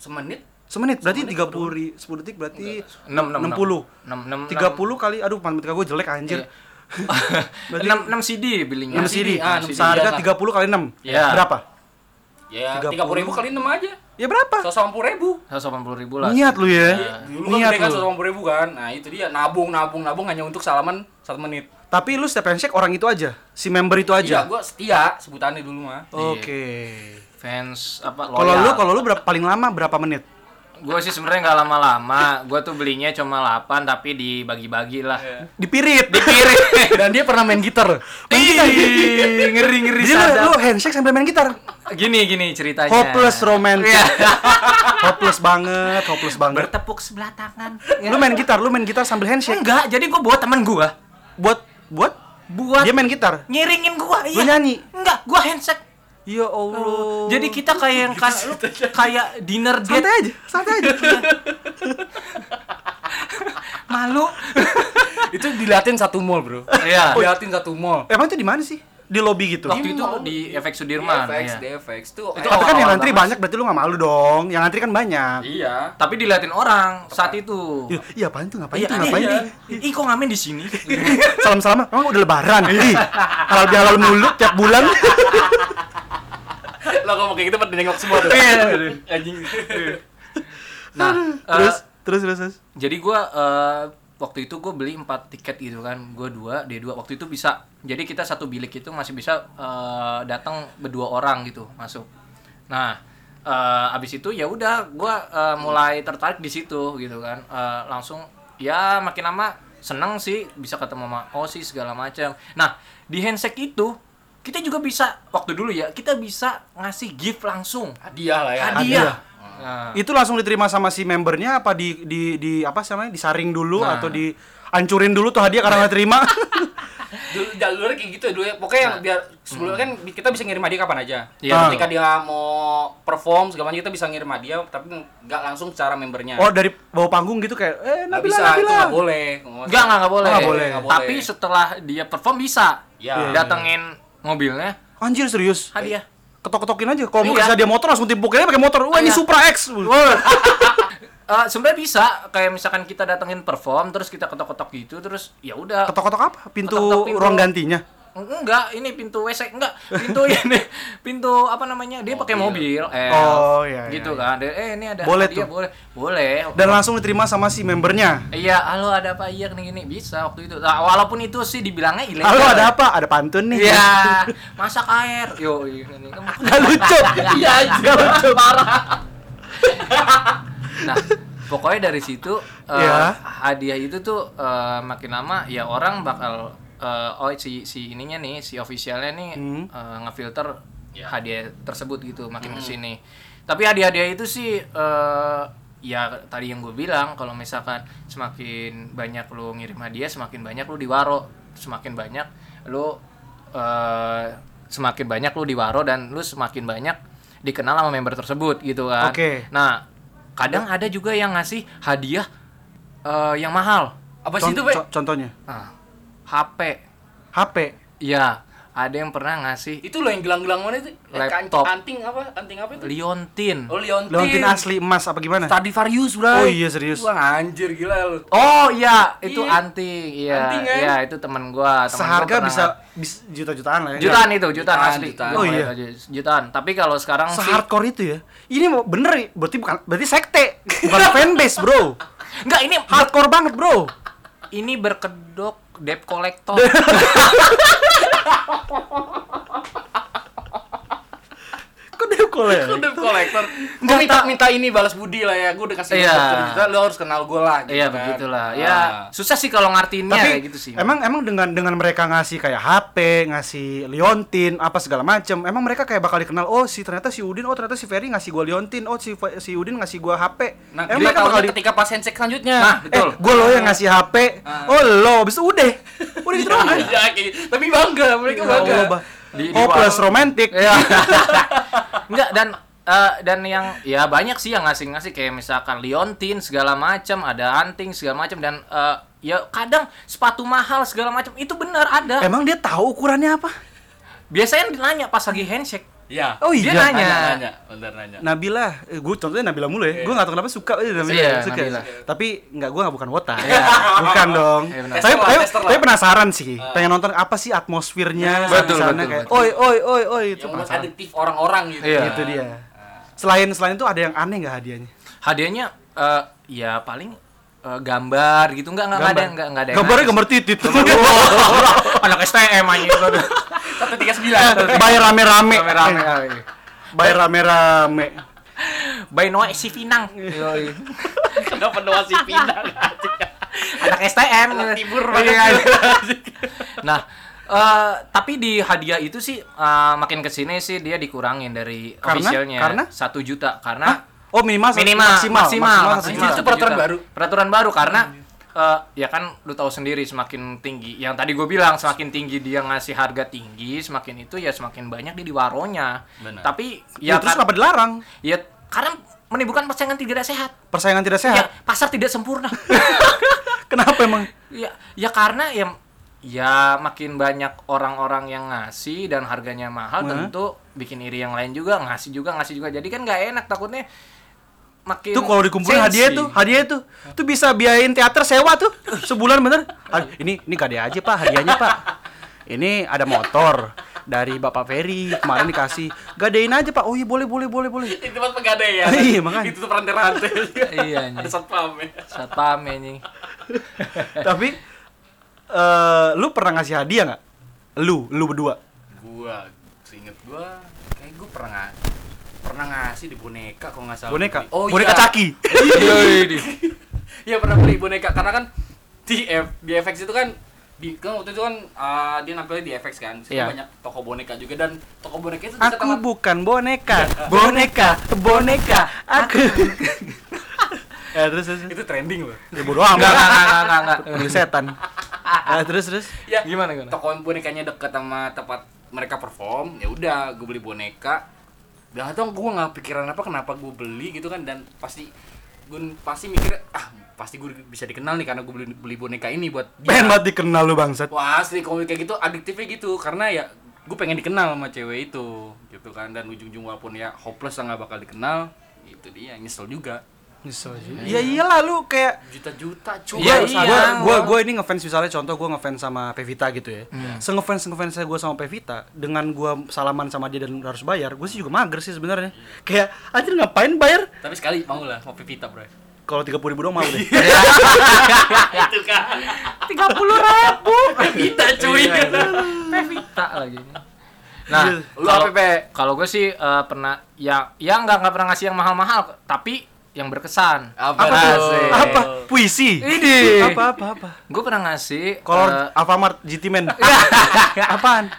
[SPEAKER 4] semenit
[SPEAKER 1] Semenit berarti 30 ri- 10 detik berarti 60.
[SPEAKER 2] 6
[SPEAKER 1] 30 kali aduh matematika gue jelek anjir.
[SPEAKER 2] 6 6 CD belinya.
[SPEAKER 1] 6 CD.
[SPEAKER 4] Ah, enam
[SPEAKER 1] Seharga
[SPEAKER 4] CD,
[SPEAKER 1] 30 kali 6.
[SPEAKER 2] Iya.
[SPEAKER 1] Berapa?
[SPEAKER 4] ya
[SPEAKER 1] 30.
[SPEAKER 4] tiga puluh ribu kali enam aja.
[SPEAKER 1] Ya berapa?
[SPEAKER 4] Seratus delapan puluh ribu.
[SPEAKER 2] 180 ribu lah.
[SPEAKER 1] Niat lu ya.
[SPEAKER 2] Iya.
[SPEAKER 4] Dulu
[SPEAKER 1] Niat
[SPEAKER 4] kan gede kan
[SPEAKER 1] lu.
[SPEAKER 4] 180 ribu kan. Nah, itu dia nabung nabung nabung hanya untuk salaman satu menit.
[SPEAKER 1] Tapi lu setiap handshake orang itu aja, si member itu
[SPEAKER 4] Iya,
[SPEAKER 1] aja.
[SPEAKER 4] gua setia sebutannya dulu mah.
[SPEAKER 1] Oke.
[SPEAKER 2] Fans apa Iya. loyal.
[SPEAKER 1] Kalau lu kalau lu berapa paling lama berapa menit?
[SPEAKER 2] Gue sih sebenarnya nggak lama-lama. Gue tuh belinya cuma 8 tapi dibagi-bagi lah.
[SPEAKER 1] Iya. Dipirit, dipirit. Eh, Dan dia pernah main gitar. Main gitar.
[SPEAKER 2] Ih, ngeri ngeri
[SPEAKER 1] Jadi lu, lu handshake sambil main gitar.
[SPEAKER 2] Gini gini ceritanya.
[SPEAKER 1] Hopeless romantic.
[SPEAKER 2] Iya.
[SPEAKER 1] hopeless banget, hopeless banget.
[SPEAKER 2] Bertepuk sebelah tangan.
[SPEAKER 1] Lu main gitar, lu main gitar sambil handshake.
[SPEAKER 2] Enggak, jadi gue buat temen gue.
[SPEAKER 1] Buat buat
[SPEAKER 2] Hmm. Buat
[SPEAKER 1] dia
[SPEAKER 2] Iya.
[SPEAKER 1] main gitar.
[SPEAKER 2] ngiringin gua
[SPEAKER 1] Lu nyanyi?
[SPEAKER 2] enggak gua handshake
[SPEAKER 1] Ya Allah.
[SPEAKER 2] jadi kita kayak yang kas- Oh. lu kayak dinner
[SPEAKER 1] santai
[SPEAKER 2] date
[SPEAKER 1] aja, santai aja.
[SPEAKER 2] malu
[SPEAKER 4] itu diliatin satu mall, Bro.
[SPEAKER 2] Iya.
[SPEAKER 4] Diliatin satu mall.
[SPEAKER 1] Emang itu di mana sih? Di lobby gitu.
[SPEAKER 2] waktu itu di efek Sudirman
[SPEAKER 4] DFX,
[SPEAKER 2] iya.
[SPEAKER 4] DFX itu
[SPEAKER 1] Itu tapi kan yang
[SPEAKER 2] awal-awal
[SPEAKER 1] antri
[SPEAKER 2] banget
[SPEAKER 1] banyak berarti lu gak malu dong. Yang antri kan banyak.
[SPEAKER 4] Iya.
[SPEAKER 2] tapi diliatin orang saat itu
[SPEAKER 1] Iya, iya apaan tuh? Ngapain
[SPEAKER 2] Iya,
[SPEAKER 1] tuh? Ngapain
[SPEAKER 2] iya.
[SPEAKER 1] tuh?
[SPEAKER 2] Ih, kok ngamen di sini?
[SPEAKER 1] Salam-salam. Emang udah lebaran.
[SPEAKER 2] Iya.
[SPEAKER 1] Ih, halal bihalal mulu tiap bulan.
[SPEAKER 4] Lo ngomong kayak gitu pada nengok semua tuh. Anjing.
[SPEAKER 2] Nah,
[SPEAKER 1] terus,
[SPEAKER 2] eh,
[SPEAKER 1] terus, terus, terus.
[SPEAKER 2] jadi gua eh, waktu itu gue beli 4 tiket gitu kan. Gua 2, dia 2. Waktu itu bisa. Jadi kita satu bilik itu masih bisa eh, datang berdua orang gitu masuk. Nah, eh, abis itu ya udah gua eh, mulai tertarik di situ gitu kan. Eh, langsung ya makin lama seneng sih bisa ketemu sama Osi segala macam. Nah, di handshake itu kita juga bisa waktu dulu ya, kita bisa ngasih gift langsung.
[SPEAKER 4] Hadiah lah ya.
[SPEAKER 2] Hadiah. Nah,
[SPEAKER 1] Itu langsung diterima sama si membernya apa di di di apa sih namanya? Disaring dulu
[SPEAKER 2] Nah.
[SPEAKER 1] atau dihancurin dulu tuh hadiah karena nggak terima.
[SPEAKER 4] Dulu jalurnya kayak gitu dulu ya. Pokoknya yang biar sebelumnya kan bi- kita bisa ngirim hadiah kapan aja.
[SPEAKER 2] Iya,
[SPEAKER 4] Nah, Ketika dia mau perform segala macam kita bisa ngirim hadiah tapi nggak langsung secara membernya.
[SPEAKER 1] oh, dari bawah panggung gitu kayak eh
[SPEAKER 4] Nggak
[SPEAKER 1] Nabila,
[SPEAKER 4] bisa, itu
[SPEAKER 1] Nabila.
[SPEAKER 4] nggak boleh.
[SPEAKER 2] Enggak, enggak, enggak boleh.
[SPEAKER 1] Oh, Nggak boleh. Ya.
[SPEAKER 4] Nggak boleh.
[SPEAKER 2] Tapi setelah dia perform bisa.
[SPEAKER 4] Iya.
[SPEAKER 2] Datengin mobilnya,
[SPEAKER 1] Anjir serius.
[SPEAKER 2] hadiah.
[SPEAKER 1] Ketok-ketokin aja. Kalau mau
[SPEAKER 2] Iya.
[SPEAKER 1] kasih dia motor langsung timpukinnya pakai motor. Wah, ini
[SPEAKER 2] Iya.
[SPEAKER 1] Supra X.
[SPEAKER 2] Eh, sebenarnya bisa kayak misalkan kita datengin perform terus kita ketok-ketok gitu terus ya udah
[SPEAKER 1] Ketok-ketok apa? Pintu
[SPEAKER 2] Ketok-ketok pintu.
[SPEAKER 1] ruang gantinya.
[SPEAKER 2] enggak ini pintu WC enggak pintu ini pintu apa namanya dia
[SPEAKER 1] iya.
[SPEAKER 2] pakai mobil eh
[SPEAKER 1] Oh, iya, iya,
[SPEAKER 2] gitu
[SPEAKER 1] iya.
[SPEAKER 2] kan Dia, eh ini ada
[SPEAKER 1] Boleh
[SPEAKER 2] hadiah,
[SPEAKER 1] tuh.
[SPEAKER 2] boleh boleh
[SPEAKER 1] Dan langsung diterima sama si membernya.
[SPEAKER 2] iya halo ada apa iya gini gini bisa waktu itu Nah, walaupun itu sih dibilangnya ilegal
[SPEAKER 1] Halo, ada apa? Ada pantun nih.
[SPEAKER 2] iya masak air yo iya, ini ini.
[SPEAKER 1] Gak lucu.
[SPEAKER 4] Iya,
[SPEAKER 1] Gak lucu.
[SPEAKER 2] Nah, pokoknya dari situ eh,
[SPEAKER 1] Ya.
[SPEAKER 2] hadiah itu tuh eh, makin lama ya orang bakal eh, oh si si ininya nih si officialnya nih eh, ngefilter hadiah tersebut gitu makin kesini. Tapi hadiah-hadiah itu sih eh, ya tadi yang gue bilang kalau misalkan semakin banyak lu ngirim hadiah semakin banyak lu diwaro semakin banyak lu eh, semakin banyak lu di waro dan lu semakin banyak dikenal sama member tersebut gitu kan.
[SPEAKER 1] Oke.
[SPEAKER 2] Nah, kadang ada juga yang ngasih hadiah eh, yang mahal.
[SPEAKER 4] Apa sih
[SPEAKER 1] Con-
[SPEAKER 4] itu, Be?
[SPEAKER 1] co- contohnya
[SPEAKER 2] Nah, HP.
[SPEAKER 1] HP
[SPEAKER 2] Iya, ada yang pernah ngasih
[SPEAKER 4] Itu loh yang gelang-gelang mana itu? Eh,
[SPEAKER 2] Laptop.
[SPEAKER 4] kan- Anting apa? Anting apa itu?
[SPEAKER 2] liontin.
[SPEAKER 4] Oh, Leontin.
[SPEAKER 1] Leontin asli emas apa gimana
[SPEAKER 4] Stradivarius, bro.
[SPEAKER 1] Oh, iya, serius. Nah,
[SPEAKER 4] Wah, anjir gila lu.
[SPEAKER 2] Oh iya, itu
[SPEAKER 4] Iya.
[SPEAKER 2] anting. Iya,
[SPEAKER 4] Anting, kan?
[SPEAKER 2] iya itu teman gua. Temen gua
[SPEAKER 1] seharga
[SPEAKER 2] pernah
[SPEAKER 1] bisa, bisa juta-jutaan lah ya
[SPEAKER 2] jutaan itu jutaan,
[SPEAKER 4] Jutaan,
[SPEAKER 2] asli
[SPEAKER 4] jutaan.
[SPEAKER 2] Gua
[SPEAKER 1] Oh,
[SPEAKER 2] ngeliat aja, jutaan tapi kalau sekarang sih
[SPEAKER 1] sehardcore itu ya ini mau- bener berarti bukan berarti sekte bukan fanbase bro
[SPEAKER 2] enggak ini
[SPEAKER 1] hardcore banget bro
[SPEAKER 2] ini berkedok debt collector
[SPEAKER 1] kok ya? dia kolek
[SPEAKER 4] Lu debt collector. Gua
[SPEAKER 2] Nggak
[SPEAKER 4] minta
[SPEAKER 2] tak-
[SPEAKER 4] minta ini balas budi lah ya. Gua udah kasih
[SPEAKER 2] Iya.
[SPEAKER 4] lu 1 juta, lu harus kenal gua lah. gitu
[SPEAKER 2] iya
[SPEAKER 4] kan.
[SPEAKER 2] begitulah
[SPEAKER 4] Ah.
[SPEAKER 2] ya susah sih kalau ngartinya
[SPEAKER 1] tapi
[SPEAKER 2] kayak gitu sih
[SPEAKER 1] emang emang dengan dengan mereka ngasih kayak HP ngasih liontin apa segala macem emang mereka kayak bakal dikenal oh si ternyata si Udin oh ternyata si Ferry ngasih gua liontin oh si Fe- si Udin ngasih gua HP
[SPEAKER 4] Nah,
[SPEAKER 1] emang
[SPEAKER 4] dia
[SPEAKER 1] mereka bakal
[SPEAKER 4] tahunya
[SPEAKER 1] di-
[SPEAKER 4] ketika pas handshake selanjutnya.
[SPEAKER 2] Nah,
[SPEAKER 1] eh
[SPEAKER 2] betul.
[SPEAKER 1] gua lo yang ngasih HP
[SPEAKER 4] Ah.
[SPEAKER 1] oh lo abis itu udah udah gitu doang
[SPEAKER 4] Iya, kayak gitu. Tapi bangga, mereka bangga.
[SPEAKER 1] Ya Allah, bah.
[SPEAKER 2] Iya, Di- di-
[SPEAKER 1] oh plus romantic
[SPEAKER 2] Iya. enggak dan eh, dan yang ya banyak sih yang ngasih-ngasih kayak misalkan liontin segala macam ada anting segala macam dan eh, ya kadang sepatu mahal segala macam itu benar ada
[SPEAKER 1] emang dia tahu ukurannya apa
[SPEAKER 2] biasanya nanya pas lagi handshake
[SPEAKER 4] Iya.
[SPEAKER 1] Oh,
[SPEAKER 2] dia
[SPEAKER 1] iya.
[SPEAKER 2] nanya,
[SPEAKER 4] Nanya, nanya, bentar nanya.
[SPEAKER 1] Nabila, eh, gue contohnya Nabila mulu ya. Gue nggak tahu kenapa suka eh, Nabila,
[SPEAKER 2] Iya,
[SPEAKER 1] suka.
[SPEAKER 2] Nabila.
[SPEAKER 1] Tapi nggak gue nggak bukan wota. bukan dong.
[SPEAKER 2] Iya, benar. Ah.
[SPEAKER 1] Saya
[SPEAKER 4] Tester lah,
[SPEAKER 1] saya
[SPEAKER 4] tester lah.
[SPEAKER 1] saya penasaran sih. Pengen nonton apa sih atmosfernya
[SPEAKER 2] Iya. Betul,
[SPEAKER 1] suasana
[SPEAKER 2] betul,
[SPEAKER 1] kayak
[SPEAKER 2] betul.
[SPEAKER 1] oi oi oi oi itu
[SPEAKER 4] Yang membuat
[SPEAKER 1] penasaran.
[SPEAKER 4] adiktif Ya orang-orang gitu.
[SPEAKER 2] Iya.
[SPEAKER 4] kan.
[SPEAKER 1] Itu dia. Selain selain itu ada yang aneh nggak hadiahnya?
[SPEAKER 2] hadiahnya eh, ya paling eh, gambar gitu nggak nggak nggak ada
[SPEAKER 1] Gambar.
[SPEAKER 2] nggak nggak ada yang
[SPEAKER 1] Gambarnya
[SPEAKER 2] nanya.
[SPEAKER 1] gambar titit.
[SPEAKER 2] anak STM aja itu aduh.
[SPEAKER 4] 139.
[SPEAKER 1] Bayar rame-rame. Eh.
[SPEAKER 2] rame-rame
[SPEAKER 1] Bayar rame-rame.
[SPEAKER 2] by Noah si Pinang
[SPEAKER 4] Kenapa Noah si pindah?
[SPEAKER 1] Iya.
[SPEAKER 2] anak STM
[SPEAKER 4] Anak timur
[SPEAKER 2] Iya.
[SPEAKER 4] banget.
[SPEAKER 2] nah eh, tapi di hadiah itu sih eh, makin kesini sih dia dikurangin dari
[SPEAKER 1] Karena?
[SPEAKER 2] officialnya
[SPEAKER 1] Karena?
[SPEAKER 2] satu juta karena
[SPEAKER 1] Hah? Oh minimal satu-
[SPEAKER 2] minimal
[SPEAKER 1] maksimal
[SPEAKER 2] maksimal,
[SPEAKER 1] satu
[SPEAKER 2] maksimal
[SPEAKER 1] juta.
[SPEAKER 4] Itu peraturan
[SPEAKER 2] Juta.
[SPEAKER 4] baru. Iya.
[SPEAKER 2] peraturan baru karena eh, ya kan lu tahu sendiri semakin tinggi yang tadi gue bilang semakin tinggi dia ngasih harga tinggi semakin itu ya semakin banyak dia di waronya
[SPEAKER 4] Benar.
[SPEAKER 2] tapi
[SPEAKER 1] Ya,
[SPEAKER 2] ya,
[SPEAKER 1] terus
[SPEAKER 2] kar-
[SPEAKER 1] kenapa dilarang?
[SPEAKER 2] ya karena menimbulkan persaingan tidak sehat
[SPEAKER 1] Persaingan tidak
[SPEAKER 2] ya
[SPEAKER 1] sehat.
[SPEAKER 2] pasar tidak sempurna
[SPEAKER 1] Kenapa emang?
[SPEAKER 2] ya ya karena ya ya makin banyak orang-orang yang ngasih dan harganya mahal
[SPEAKER 1] Hah?
[SPEAKER 2] tentu bikin iri yang lain juga ngasih juga ngasih juga jadi kan nggak enak takutnya makin
[SPEAKER 1] Itu kalau dikumpulin
[SPEAKER 2] sensi.
[SPEAKER 1] hadiah tuh, hadiah tuh. Tuh bisa biayain teater sewa tuh sebulan bener. Ah, ini ini kade aja Pak, hadiahnya Pak. Ini ada motor dari Bapak Ferry kemarin dikasih. Gadein aja Pak. Oh iya boleh boleh boleh boleh.
[SPEAKER 4] Di tempat pegadaian. ya.
[SPEAKER 1] Iya, makanya.
[SPEAKER 4] Itu tuh rantai-rantai.
[SPEAKER 2] Iya, iya.
[SPEAKER 4] Ada satpam ya.
[SPEAKER 2] satpam ini
[SPEAKER 1] Tapi eh lu pernah ngasih hadiah nggak? Lu, lu berdua.
[SPEAKER 4] Gua seinget gua kayak gua pernah nga- pernah ngasih di boneka kalau nggak salah.
[SPEAKER 1] Boneka.
[SPEAKER 4] Oh,
[SPEAKER 1] boneka
[SPEAKER 4] iya.
[SPEAKER 1] caki.
[SPEAKER 4] Iya pernah beli boneka karena kan di F, di FX itu kan di kan waktu itu kan uh, dia nampilnya di FX kan. Situ
[SPEAKER 1] Iya.
[SPEAKER 4] banyak toko boneka juga dan toko boneka itu dekat
[SPEAKER 1] Aku
[SPEAKER 4] sama
[SPEAKER 1] bukan boneka. Boneka, boneka. Aku. ya terus terus. terus.
[SPEAKER 4] itu trending loh.
[SPEAKER 1] Ya bodo amat.
[SPEAKER 2] nggak nggak nggak nggak nggak
[SPEAKER 1] Lu setan. Ya terus terus.
[SPEAKER 4] Ya.
[SPEAKER 2] Gimana,
[SPEAKER 1] Kan.
[SPEAKER 2] gimana?
[SPEAKER 4] Toko bonekanya dekat sama tempat mereka perform. Ya udah, gue beli boneka. Gak tau gue nggak pikiran apa kenapa gue beli gitu kan dan pasti gue pasti mikir ah pasti gue bisa dikenal nih karena gue beli, beli boneka ini buat dia.
[SPEAKER 1] Pengen banget dikenal lu bangsat.
[SPEAKER 4] Wah asli komik kayak gitu adiktifnya gitu karena ya gue pengen dikenal sama cewek itu gitu kan dan ujung-ujung walaupun ya hopeless lah nggak bakal dikenal itu dia nyesel juga
[SPEAKER 1] Nyesel juga. Ya iyalah lu kayak
[SPEAKER 4] juta-juta cuy
[SPEAKER 2] Iya,
[SPEAKER 1] Gua-
[SPEAKER 2] iya.
[SPEAKER 1] gua, gua,
[SPEAKER 2] gua-
[SPEAKER 1] gua ini ngefans misalnya contoh gua ngefans sama Pevita gitu ya.
[SPEAKER 2] Hmm.
[SPEAKER 1] Sengefans ngefans saya gua sama Pevita dengan gua salaman sama dia dan harus bayar, gua sih juga mager sih sebenarnya. Kayak anjir ngapain bayar?
[SPEAKER 4] tapi sekali mau lah mau pipita bro
[SPEAKER 1] Kalau 30 ribu doang mau deh.
[SPEAKER 2] Iya.
[SPEAKER 4] itu kan
[SPEAKER 2] tiga puluh ribu
[SPEAKER 4] pipita cuy
[SPEAKER 1] Iya,
[SPEAKER 2] Pevita Eh, lagi nah
[SPEAKER 4] Lu
[SPEAKER 2] kalau-
[SPEAKER 4] apa, Pe?
[SPEAKER 2] kalau gue sih eh, pernah ya ya nggak nggak pernah ngasih yang mahal-mahal tapi yang berkesan
[SPEAKER 4] Apa tuh?
[SPEAKER 2] Asik.
[SPEAKER 1] apa? Puisi.
[SPEAKER 2] Ini.
[SPEAKER 1] Apa apa apa?
[SPEAKER 2] Gue pernah ngasih
[SPEAKER 1] Kolor
[SPEAKER 2] eh,
[SPEAKER 1] Alfamart GT Man. Apaan?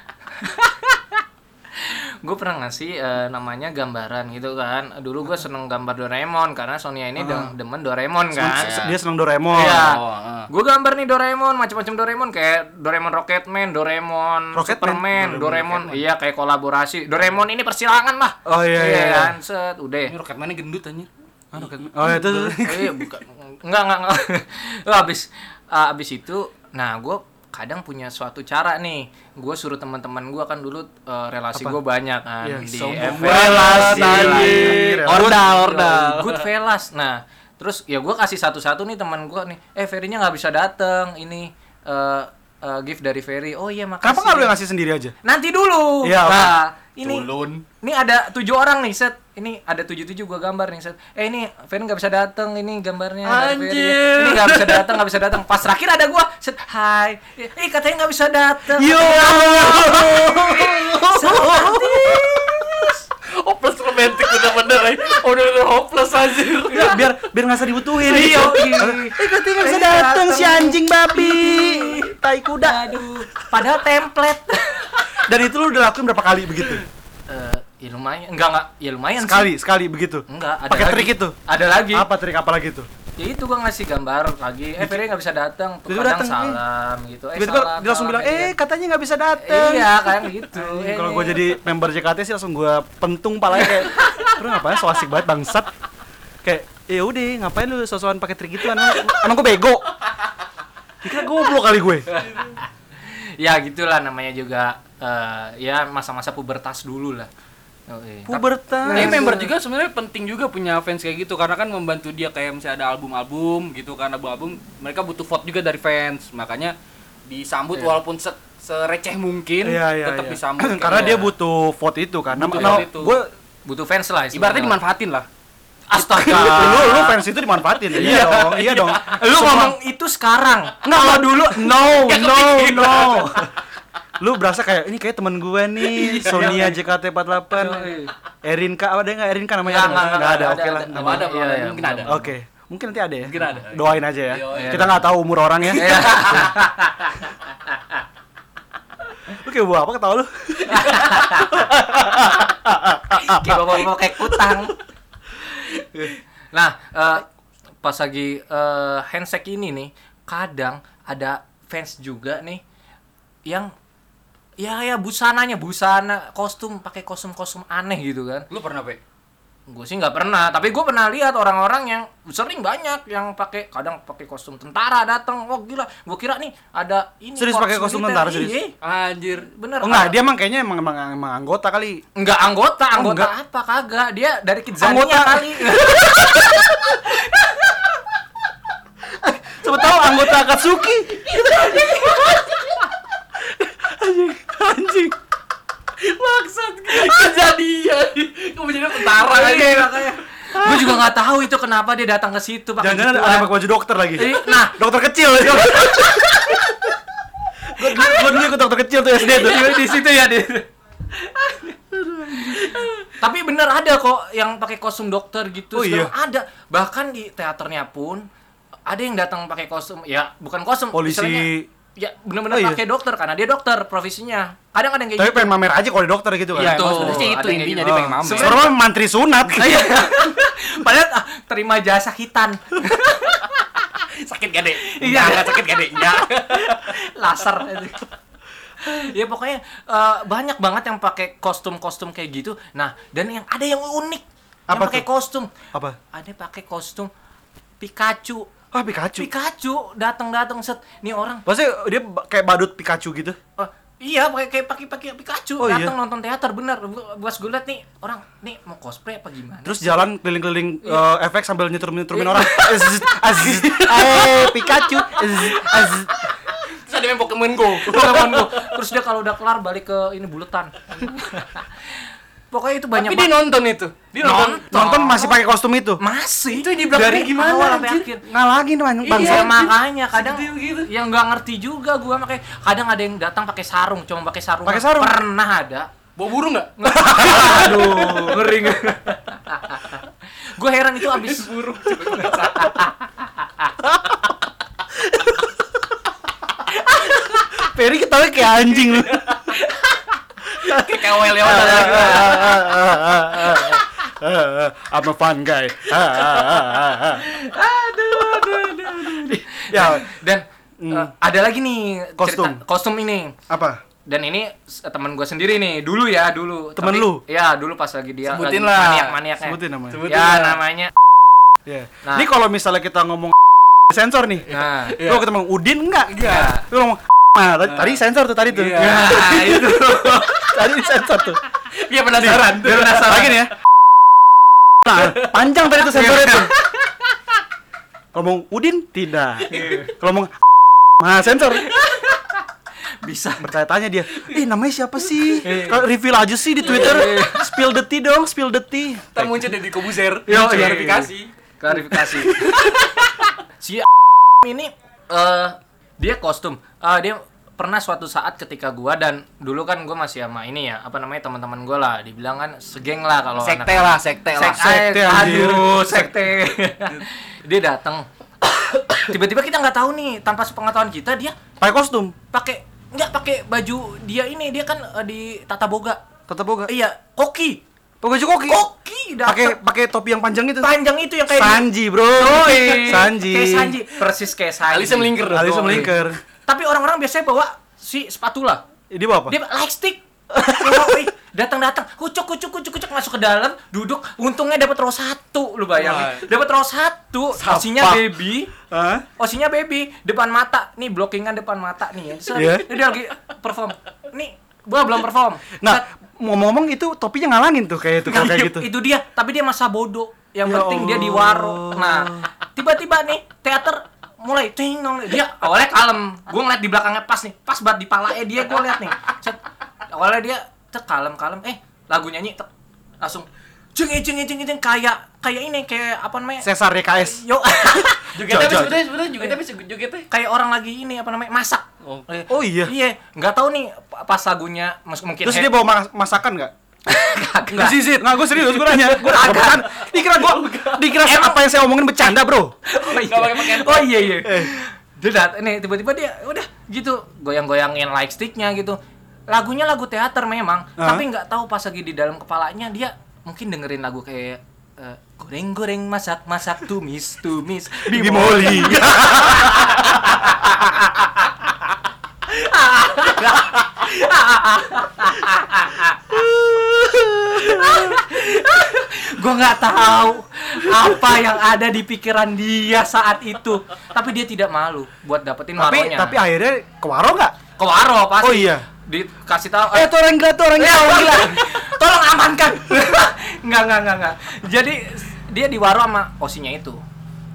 [SPEAKER 2] gue pernah ngasih eh, namanya gambaran gitu kan dulu gue seneng gambar Doraemon karena Sonia ini dem- demen Doraemon kan
[SPEAKER 1] Senang- Dia senang Doraemon.
[SPEAKER 2] Iya.
[SPEAKER 4] Oh, ah.
[SPEAKER 2] Gue gambar nih Doraemon, macam-macam Doraemon kayak Doraemon Rocketman, Doraemon
[SPEAKER 1] Rocketman?
[SPEAKER 2] Superman, Doraemon, iya kayak kolaborasi. Doraemon ini persilangan lah.
[SPEAKER 1] Oh, iya, iya, iya.
[SPEAKER 2] kan? set udah.
[SPEAKER 4] Ini roket mana gendut anjir. Ah, roket mana?
[SPEAKER 1] Oh, itu tuh.
[SPEAKER 2] Eh, bukan. Enggak, enggak, enggak. Lah, abis, ah, abis itu, nah gue kadang punya suatu cara nih. Gue suruh teman-teman gue kan dulu eh, relasi gue banyak kan
[SPEAKER 1] Iya,
[SPEAKER 2] di
[SPEAKER 4] sombong.
[SPEAKER 2] FB.
[SPEAKER 1] Relasi,
[SPEAKER 2] Relasi.
[SPEAKER 1] relasi. ya
[SPEAKER 2] Orda,
[SPEAKER 3] orda.
[SPEAKER 2] Good velas. Nah, terus ya gue kasih satu-satu nih teman gue nih. Eh, Ferrynya nggak bisa dateng. Ini eh, eh, gift dari Ferry. Oh iya makasih.
[SPEAKER 1] Kenapa nggak lu yang ngasih sendiri aja?
[SPEAKER 2] Nanti dulu.
[SPEAKER 1] Iya, oke.
[SPEAKER 2] nah, ini
[SPEAKER 4] Culun.
[SPEAKER 2] ini ada tujuh orang nih set. Ini ada tujuh tujuh gue gambar nih set. Eh ini Ferry nggak bisa datang. Ini gambarnya. dari Ferry.
[SPEAKER 1] Anjir.
[SPEAKER 2] Ini nggak bisa datang, nggak bisa datang. Pas terakhir ada gue set. Hai. Eh katanya nggak bisa datang.
[SPEAKER 1] Yo.
[SPEAKER 4] Hopeless romantic bener-bener. eh. Oh, Bener-bener hopeless anjir.
[SPEAKER 1] Udah, biar biar nggak usah dibutuhin.
[SPEAKER 2] Iya, iya.
[SPEAKER 1] Eh katanya nggak bisa
[SPEAKER 2] Iya,
[SPEAKER 1] datang si
[SPEAKER 2] dateng.
[SPEAKER 1] anjing babi, tai kuda.
[SPEAKER 2] Aduh. Padahal template.
[SPEAKER 1] Nah, Dan itu lu udah lakuin berapa kali begitu?
[SPEAKER 2] Eh, ya lumayan. Enggak enggak. Ya lumayan sih.
[SPEAKER 1] Sekali, sekali begitu.
[SPEAKER 2] Enggak, ada
[SPEAKER 1] Pakai
[SPEAKER 2] lagi.
[SPEAKER 1] trik itu.
[SPEAKER 2] Ada lagi.
[SPEAKER 1] Apa trik apa lagi tuh?
[SPEAKER 2] Ya itu gua ngasih gambar lagi. Eh, Ferry nggak bisa datang.
[SPEAKER 1] Tiba-tiba
[SPEAKER 2] Kadang
[SPEAKER 1] datang, eh.
[SPEAKER 2] salam gitu. Eh,
[SPEAKER 1] Tiba-tiba
[SPEAKER 2] salam,
[SPEAKER 1] dia langsung
[SPEAKER 2] salam,
[SPEAKER 1] bilang, eh katanya nggak bisa datang.
[SPEAKER 2] Iya, kayak gitu.
[SPEAKER 1] Anjing, Kalau gue jadi member JKT sih langsung gue pentung palanya kayak, lu ngapain so asik banget bangsat. Kayak, ya udah ngapain lu sosokan pakai trik itu emang emang gue bego. Dikira goblok kali gue.
[SPEAKER 2] Iya. ya gitulah namanya juga eh, ya masa-masa pubertas dulu lah. Oke.
[SPEAKER 1] Pubertas.
[SPEAKER 4] Tapi member juga sebenarnya penting juga punya fans kayak gitu karena kan membantu dia kayak misalnya ada album-album gitu kan album-album mereka butuh vote juga dari fans makanya disambut walaupun se- sereceh mungkin
[SPEAKER 1] Iya, iya,
[SPEAKER 4] tetap
[SPEAKER 1] iya.
[SPEAKER 4] disambut
[SPEAKER 1] karena
[SPEAKER 4] kayak- gitu.
[SPEAKER 1] dia butuh vote itu kan. Nah,
[SPEAKER 4] Butuh
[SPEAKER 1] nah,
[SPEAKER 4] vote itu.
[SPEAKER 1] gue
[SPEAKER 2] Butuh fans lah
[SPEAKER 4] ibaratnya
[SPEAKER 2] istilahnya.
[SPEAKER 4] dimanfaatin lah
[SPEAKER 2] Astaga.
[SPEAKER 1] lu lu fans itu dimanfaatin. iya dong, iya dong.
[SPEAKER 2] Lu
[SPEAKER 1] Semua-
[SPEAKER 2] ngomong itu sekarang.
[SPEAKER 1] Enggak kalau dulu no no no. Lu berasa kayak ini kayak temen gue nih, Sonia JKT48. Erinka apa ada enggak Erinka namanya?
[SPEAKER 2] Enggak,
[SPEAKER 1] Nggak
[SPEAKER 2] enggak,
[SPEAKER 1] ada.
[SPEAKER 2] enggak,
[SPEAKER 1] Oke
[SPEAKER 2] ada,
[SPEAKER 1] lah.
[SPEAKER 2] ada,
[SPEAKER 1] nama-
[SPEAKER 4] ada,
[SPEAKER 2] Iya,
[SPEAKER 4] ada,
[SPEAKER 2] iya,
[SPEAKER 4] mungkin
[SPEAKER 2] belum.
[SPEAKER 4] ada.
[SPEAKER 1] Oke. Mungkin nanti ada ya.
[SPEAKER 4] Mungkin ada.
[SPEAKER 1] Doain aja ya.
[SPEAKER 4] Yoi.
[SPEAKER 1] Kita nggak tahu umur orang ya. Lu kayak buah apa ketawa lu?
[SPEAKER 2] kayak bawa kayak kutang. nah, eh, pas lagi eh, handshake ini nih, kadang ada fans juga nih yang ya ya busananya busana kostum pakai kostum kostum aneh gitu kan
[SPEAKER 4] lu pernah pe
[SPEAKER 2] gue sih nggak pernah tapi gue pernah lihat orang-orang yang sering banyak yang pakai kadang pakai kostum tentara datang oh gila gue kira nih ada ini
[SPEAKER 1] Serius
[SPEAKER 2] korps
[SPEAKER 1] pakai kostum
[SPEAKER 2] militer.
[SPEAKER 1] tentara, serius?
[SPEAKER 2] Iya,
[SPEAKER 4] anjir
[SPEAKER 2] bener
[SPEAKER 1] Oh enggak, dia emang kayaknya emang emang, emang anggota kali.
[SPEAKER 2] Enggak anggota, anggota
[SPEAKER 1] enggak.
[SPEAKER 2] apa kagak? Dia dari Kidzania
[SPEAKER 1] Oh, Anggota.
[SPEAKER 2] kali.
[SPEAKER 1] Coba tahu anggota Akatsuki. anjing, anjing.
[SPEAKER 4] maksud kejadian kamu jadi tentara
[SPEAKER 2] Iya,
[SPEAKER 4] aja
[SPEAKER 2] makanya. Gue juga nggak tahu itu kenapa dia datang ke situ pakai gitu kan.
[SPEAKER 1] Jangan-jangan ada
[SPEAKER 2] gituan.
[SPEAKER 1] pakai baju dokter lagi.
[SPEAKER 2] Jadi, nah,
[SPEAKER 1] dokter kecil. Gue dulu ikut dokter kecil tuh SD tuh.
[SPEAKER 2] di situ ya di. Tapi bener ada kok yang pakai kostum dokter gitu.
[SPEAKER 1] Oh,
[SPEAKER 2] segala-
[SPEAKER 1] iya.
[SPEAKER 2] Ada. Bahkan di teaternya pun ada yang datang pakai kostum. Ya, bukan kostum.
[SPEAKER 1] Polisi.
[SPEAKER 2] istilahnya- Ya,
[SPEAKER 1] Oh,
[SPEAKER 2] bener-bener
[SPEAKER 1] iya.
[SPEAKER 2] pakai dokter karena dia dokter profesinya. Kadang ada yang kayak
[SPEAKER 1] eh,
[SPEAKER 2] gitu.
[SPEAKER 1] Tapi pengen mamer aja kalau di dokter gitu kan.
[SPEAKER 2] Iya,
[SPEAKER 4] Tuh,
[SPEAKER 2] Tuh,
[SPEAKER 4] pasti
[SPEAKER 2] ada
[SPEAKER 4] itu
[SPEAKER 2] yang
[SPEAKER 4] intinya
[SPEAKER 2] kayak
[SPEAKER 4] dia
[SPEAKER 2] gitu.
[SPEAKER 4] pengen mamer
[SPEAKER 2] Sebenarnya-
[SPEAKER 1] Sebenarnya mantri sunat.
[SPEAKER 2] Iya. Padahal ah, terima jasa hitan.
[SPEAKER 4] sakit gak deh iya nggak sakit gak deh enggak
[SPEAKER 2] laser ya pokoknya eh, banyak banget yang pakai kostum-kostum kayak gitu nah dan yang ada yang unik yang
[SPEAKER 1] Apa
[SPEAKER 2] pakai
[SPEAKER 1] tuh?
[SPEAKER 2] kostum
[SPEAKER 1] Apa?
[SPEAKER 2] ada yang pakai kostum Pikachu
[SPEAKER 1] Ah, Pikachu.
[SPEAKER 2] Pikachu datang-datang set nih orang
[SPEAKER 1] Pasti dia ba- kayak badut Pikachu gitu.
[SPEAKER 2] eh, iya pakai kayak pakai pakai Pikachu
[SPEAKER 1] Oh, iya?
[SPEAKER 2] datang nonton teater bener Bu- buas gue liat nih orang nih mau cosplay apa gimana
[SPEAKER 1] Terus jalan keliling-keliling eh, efek sambil nyetrum-nyetrumin orang. Aziz, aziz, eh Pikachu, aziz, aziz.
[SPEAKER 4] terus ada main Pokemon Go
[SPEAKER 2] Pokemon Go. Kan terus dia kalau udah kelar balik ke ini buletan pokoknya itu banyak
[SPEAKER 4] tapi dia nonton itu dia nonton
[SPEAKER 1] Nonton masih pakai kostum itu.
[SPEAKER 2] masih
[SPEAKER 4] Itu yang di belakangnya gimana,
[SPEAKER 2] awal sampai
[SPEAKER 4] anjir? Iya,
[SPEAKER 2] akhir Iya.
[SPEAKER 1] Ngalangin man,
[SPEAKER 2] Bang,
[SPEAKER 1] bangsa.
[SPEAKER 2] saya
[SPEAKER 4] anjir.
[SPEAKER 2] makanya kadang
[SPEAKER 4] Segitu gitu.
[SPEAKER 2] yang nggak ngerti juga gua makanya kadang ada yang datang pakai sarung cuma pakai sarung
[SPEAKER 1] Pakai sarung?
[SPEAKER 2] pernah ada
[SPEAKER 4] bawa burung nggak
[SPEAKER 1] Aduh, ngeri ngeri.
[SPEAKER 2] gue heran itu abis
[SPEAKER 4] burung
[SPEAKER 1] Peri ketawa kayak anjing lu.
[SPEAKER 4] kayak
[SPEAKER 2] kewel lewat
[SPEAKER 4] ah,
[SPEAKER 2] ada lagi.
[SPEAKER 1] I'm a fun guy. aduh, aduh, Ya,
[SPEAKER 2] Dan eh, ada lagi nih
[SPEAKER 1] Hmm. Kostum.
[SPEAKER 2] cerita- kostum ini.
[SPEAKER 1] apa?
[SPEAKER 2] Dan ini s- teman gue sendiri nih, dulu ya, dulu.
[SPEAKER 1] Temen
[SPEAKER 2] Tapi-
[SPEAKER 1] lu?
[SPEAKER 2] Ya, dulu pas lagi dia
[SPEAKER 4] Sebutin
[SPEAKER 2] lagi
[SPEAKER 4] lah.
[SPEAKER 2] maniak-maniaknya.
[SPEAKER 1] Sebutin namanya.
[SPEAKER 4] Sebutin
[SPEAKER 2] ya,
[SPEAKER 4] lah.
[SPEAKER 2] namanya.
[SPEAKER 1] Ya.
[SPEAKER 2] Nah.
[SPEAKER 1] Ini kalau misalnya kita ngomong sensor nih.
[SPEAKER 2] Nah,
[SPEAKER 1] Lu ketemu Udin enggak?
[SPEAKER 4] Iya.
[SPEAKER 1] Lu ngomong nah, tadi- tadi sensor tuh tadi tuh.
[SPEAKER 4] Iya.
[SPEAKER 2] nah, itu.
[SPEAKER 1] tadi sensor tuh.
[SPEAKER 2] Dia penasaran, dia penasaran.
[SPEAKER 1] Lagi nih ya. Nah, panjang tadi tuh sensornya tuh. Kalau ngomong Udin tidak. Kalau ngomong nah sensor
[SPEAKER 2] Bisa.
[SPEAKER 1] bertanya tanya dia eh namanya siapa sih kalau reveal aja sih di twitter spill the tea dong spill the tea
[SPEAKER 4] Ntar muncul dari Kobuzer,
[SPEAKER 1] Yo,
[SPEAKER 4] muncul
[SPEAKER 1] iya.
[SPEAKER 4] klarifikasi.
[SPEAKER 2] klarifikasi si ini eh dia kostum Eh, dia pernah suatu saat ketika gua dan dulu kan gua masih sama ini ya apa namanya teman-teman gua lah dibilang kan segeng lah kalau anak-
[SPEAKER 3] Sekte lah, sekte lah.
[SPEAKER 2] Sek- eh,
[SPEAKER 1] Sekte, anjir.
[SPEAKER 2] aduh sekte dia datang tiba-tiba kita nggak tahu nih tanpa sepengetahuan kita dia
[SPEAKER 1] pakai kostum
[SPEAKER 2] pakai nggak pakai baju dia ini dia kan eh, di tata boga
[SPEAKER 1] tetap boga
[SPEAKER 2] iya koki
[SPEAKER 1] pakai baju koki
[SPEAKER 2] koki
[SPEAKER 1] Iya. pakai
[SPEAKER 2] datang
[SPEAKER 1] pakai topi yang panjang itu
[SPEAKER 2] panjang itu yang kayak di-
[SPEAKER 1] Sanji bro
[SPEAKER 2] Yoi.
[SPEAKER 1] Sanji
[SPEAKER 2] Kayak Sanji, persis kayak Sanji.
[SPEAKER 4] Alisnya melingkar dong.
[SPEAKER 1] Alisa melingkar
[SPEAKER 2] Tapi orang-orang biasanya bawa si spatula.
[SPEAKER 1] Ini bawa apa?
[SPEAKER 2] Dia lightstick. Bawa, ih, Datang-datang, kucuk kucuk kucuk kucuk masuk ke dalam, duduk, untungnya dapat row satu, lu bayangin. Dapat row satu, osinya baby,
[SPEAKER 1] Hah?
[SPEAKER 2] osinya baby, depan mata, nih blockingan depan mata nih ya. Set,
[SPEAKER 1] Iya.
[SPEAKER 2] Dia lagi perform, nih gua belum perform.
[SPEAKER 1] Nah,
[SPEAKER 2] Set,
[SPEAKER 1] ngomong-ngomong itu topinya ngalangin tuh kayak itu kalau kayak gitu.
[SPEAKER 2] Nah, itu dia, tapi dia masa bodoh. Yang
[SPEAKER 1] Ya
[SPEAKER 2] penting dia di waro. Nah, tiba-tiba nih teater mulai ting dong dia awalnya kalem. Gue ngeliat di belakangnya pas nih, pas banget di palanya dia gue liat nih. Cet. Awalnya dia cek kalem-kalem, eh lagu nyanyi tek. langsung eh, jeng jeng jeng jeng kayak kayak ini kayak apa namanya?
[SPEAKER 1] Sesar E DKS.
[SPEAKER 2] Yo,
[SPEAKER 4] Joget tapi
[SPEAKER 1] Jauh, jauh.
[SPEAKER 4] sebetulnya sebetulnya joget tapi joget tapi.
[SPEAKER 2] kayak orang lagi ini apa namanya masak.
[SPEAKER 4] Oh.
[SPEAKER 2] Eh,
[SPEAKER 1] Oh iya.
[SPEAKER 2] Iya, nggak tahu nih pa- pas lagunya mas- mungkin
[SPEAKER 1] Terus dia bawa mas- masakan nggak?
[SPEAKER 2] kagak.
[SPEAKER 1] Disisir. Nah, gue serius, gue nanya. Gue
[SPEAKER 2] Kagak.
[SPEAKER 1] bukan. Dikira gue, dikira apa yang saya omongin bercanda bro.
[SPEAKER 2] Oh iya.
[SPEAKER 4] Nggak pakai pakaian.
[SPEAKER 2] Oh iya iya.
[SPEAKER 1] Eh.
[SPEAKER 2] Dia dat- nih tiba-tiba dia udah gitu goyang-goyangin like sticknya gitu. Lagunya lagu teater memang,
[SPEAKER 1] Hah?
[SPEAKER 2] tapi nggak tahu pas lagi di dalam kepalanya dia mungkin dengerin lagu kayak eh, goreng-goreng masak masak tumis tumis bimol.
[SPEAKER 1] Bimoli.
[SPEAKER 2] Gua nggak tahu apa yang ada di pikiran dia saat itu, tapi dia tidak malu buat dapetin
[SPEAKER 1] tapi
[SPEAKER 2] waronya.
[SPEAKER 1] tapi akhirnya ke waro nggak?
[SPEAKER 2] ke waro pasti.
[SPEAKER 1] Oh iya.
[SPEAKER 2] Dikasih tahu
[SPEAKER 1] Eh,
[SPEAKER 2] eh,
[SPEAKER 1] tuh orang gila, tuh orang gila.
[SPEAKER 2] Ya Allah, gila. Tolong amankan. Enggak, enggak, enggak, enggak. Jadi dia diwaro sama osinya itu.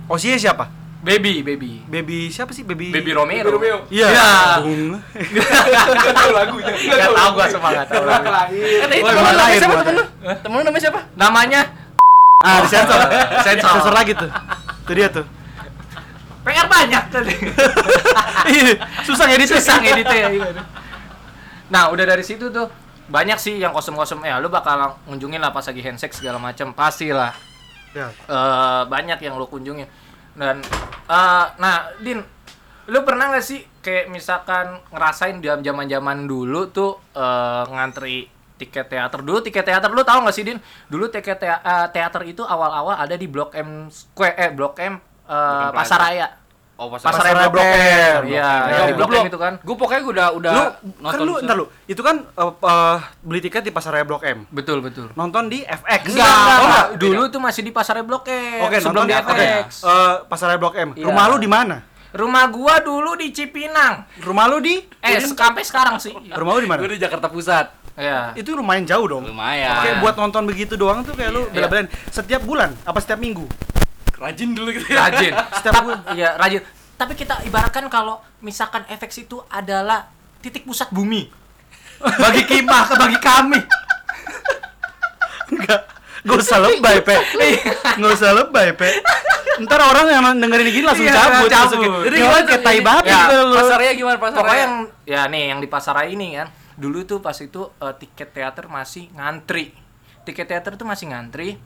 [SPEAKER 1] Oh sih siapa?
[SPEAKER 2] Baby, baby.
[SPEAKER 1] Baby siapa sih? Baby.
[SPEAKER 2] Baby Romero.
[SPEAKER 4] Baby Romeo.
[SPEAKER 1] Iya.
[SPEAKER 2] Iya.
[SPEAKER 1] Bunga.
[SPEAKER 4] Enggak tahu lagunya.
[SPEAKER 2] Enggak tahu gua sama enggak tahu.
[SPEAKER 4] Eh, tadi
[SPEAKER 1] Wah, gua
[SPEAKER 4] temen lu namanya
[SPEAKER 1] lahir,
[SPEAKER 4] siapa
[SPEAKER 1] gua
[SPEAKER 4] temen lu? Temen lu namanya siapa?
[SPEAKER 2] Namanya
[SPEAKER 1] Ah, di sensor.
[SPEAKER 2] Sensor.
[SPEAKER 1] Sensor lagi tuh. Itu dia tuh.
[SPEAKER 2] PR banyak tadi.
[SPEAKER 1] Ih, Susah ngedit.
[SPEAKER 2] Susah ngeditnya. iya. Nah, udah dari situ tuh banyak sih yang kosong-kosong ya lu bakal ngunjungin lah pas lagi handshake segala macam pastilah
[SPEAKER 1] Ya.
[SPEAKER 2] eh banyak yang lo kunjungi dan eh, nah din lu pernah nggak sih kayak misalkan ngerasain jam zaman zaman dulu tuh eh, ngantri tiket teater dulu tiket teater lu tahu nggak sih din dulu tiket tea- eh, teater itu awal-awal ada di blok M Square eh blok M eh,
[SPEAKER 4] Plaza.
[SPEAKER 2] Pasaraya
[SPEAKER 4] Oh, pas
[SPEAKER 1] Pasar
[SPEAKER 2] Pasaraya
[SPEAKER 1] Blok M. Blok M.
[SPEAKER 2] iya yang di blok M itu kan
[SPEAKER 4] Gue pokoknya gue udah udah
[SPEAKER 1] lu kan lu ntar lu itu kan eh, eh, beli tiket di pasaraya Blok M
[SPEAKER 2] betul betul
[SPEAKER 1] nonton di FX
[SPEAKER 2] enggak,
[SPEAKER 1] Oh, enggak.
[SPEAKER 2] dulu tuh masih di Pasaraya blok M
[SPEAKER 1] oke
[SPEAKER 2] sebelum
[SPEAKER 1] nonton di
[SPEAKER 2] di FX
[SPEAKER 1] oke, eh, pasaraya Blok M
[SPEAKER 2] Iya.
[SPEAKER 1] rumah lu di mana
[SPEAKER 2] rumah gua dulu di Cipinang
[SPEAKER 1] rumah lu di
[SPEAKER 2] eh sampai sekarang sih
[SPEAKER 1] rumah lu di mana
[SPEAKER 4] Gue di Jakarta Pusat.
[SPEAKER 2] ya
[SPEAKER 1] itu lumayan jauh dong
[SPEAKER 4] Lumayan.
[SPEAKER 1] Kayak buat nonton begitu doang tuh kayak lu
[SPEAKER 2] Iya.
[SPEAKER 1] bela-belain setiap bulan apa setiap minggu
[SPEAKER 4] rajin dulu gitu ya.
[SPEAKER 2] rajin
[SPEAKER 1] Setiap
[SPEAKER 2] Tap-
[SPEAKER 1] bulan.
[SPEAKER 2] iya rajin tapi kita ibaratkan kalau misalkan efek itu adalah titik pusat bumi bagi kimah bagi kami
[SPEAKER 1] enggak gak usah lebay pe gak usah lebay pe ntar orang yang dengerin gini langsung
[SPEAKER 2] Iya,
[SPEAKER 1] cabut,
[SPEAKER 2] cabut.
[SPEAKER 1] Langsung,
[SPEAKER 2] Jadi
[SPEAKER 1] jadi gimana kayak tai banget
[SPEAKER 2] Ya,
[SPEAKER 1] gitu lu
[SPEAKER 4] Pasarnya gimana pasarnya?
[SPEAKER 2] pokoknya yang ya nih yang di pasar ini kan dulu tuh pas itu eh, tiket teater masih ngantri tiket teater tuh masih ngantri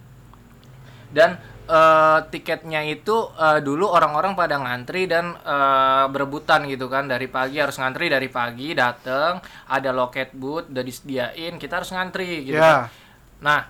[SPEAKER 2] dan eh, tiketnya itu eh, dulu orang-orang pada ngantri dan eh, berebutan gitu kan dari pagi harus ngantri dari pagi dateng ada loket booth udah disediain kita harus ngantri gitu
[SPEAKER 1] Ya.
[SPEAKER 2] kan. Nah,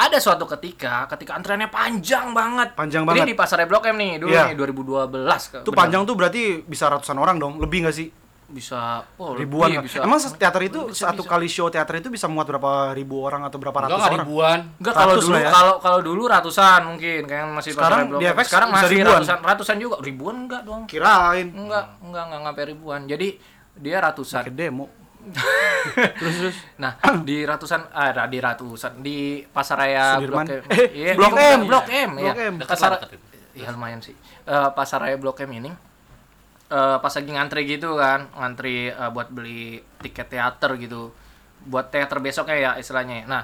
[SPEAKER 2] ada suatu ketika ketika antriannya panjang banget.
[SPEAKER 1] Panjang
[SPEAKER 2] Ini
[SPEAKER 1] banget.
[SPEAKER 2] di pasar Blok M nih dulu
[SPEAKER 1] Iya.
[SPEAKER 2] nih 2012 ke-
[SPEAKER 1] Itu
[SPEAKER 2] bener.
[SPEAKER 1] panjang tuh berarti bisa ratusan orang dong, lebih nggak sih?
[SPEAKER 2] bisa oh, lebih
[SPEAKER 1] Ribuan. kan?
[SPEAKER 2] bisa.
[SPEAKER 1] Emang teater itu
[SPEAKER 2] Bisa,
[SPEAKER 1] satu
[SPEAKER 2] bisa.
[SPEAKER 1] kali show teater itu bisa muat berapa ribu orang atau berapa
[SPEAKER 4] Enggak
[SPEAKER 1] ratus
[SPEAKER 4] nggak
[SPEAKER 1] orang?
[SPEAKER 4] ribuan.
[SPEAKER 2] Enggak kalau
[SPEAKER 1] Ratus
[SPEAKER 2] dulu
[SPEAKER 1] lah ya.
[SPEAKER 2] kalau kalau dulu ratusan mungkin kayak masih
[SPEAKER 1] Sekarang
[SPEAKER 2] pasar Blok
[SPEAKER 1] di
[SPEAKER 2] M.
[SPEAKER 1] FX
[SPEAKER 2] sekarang
[SPEAKER 1] bisa
[SPEAKER 2] masih
[SPEAKER 1] ribuan.
[SPEAKER 2] ratusan ratusan juga ribuan enggak dong
[SPEAKER 1] Kirain.
[SPEAKER 2] enggak enggak enggak sampai ribuan jadi dia ratusan
[SPEAKER 1] Ke demo.
[SPEAKER 2] nah di ratusan ah di ratusan di pasaraya
[SPEAKER 1] Sudirman.
[SPEAKER 2] Blok M
[SPEAKER 1] Eh,
[SPEAKER 2] Iya,
[SPEAKER 1] Blok
[SPEAKER 2] di-
[SPEAKER 1] M.
[SPEAKER 2] Blok M
[SPEAKER 1] Blok
[SPEAKER 2] ya.
[SPEAKER 1] M.
[SPEAKER 4] Dekat
[SPEAKER 2] pasar
[SPEAKER 4] lah, dekat itu.
[SPEAKER 2] ya lumayan sih Eh, pasaraya Blok M ini eh, pas lagi ngantri gitu kan ngantri eh, buat beli tiket teater gitu buat teater besoknya ya istilahnya nah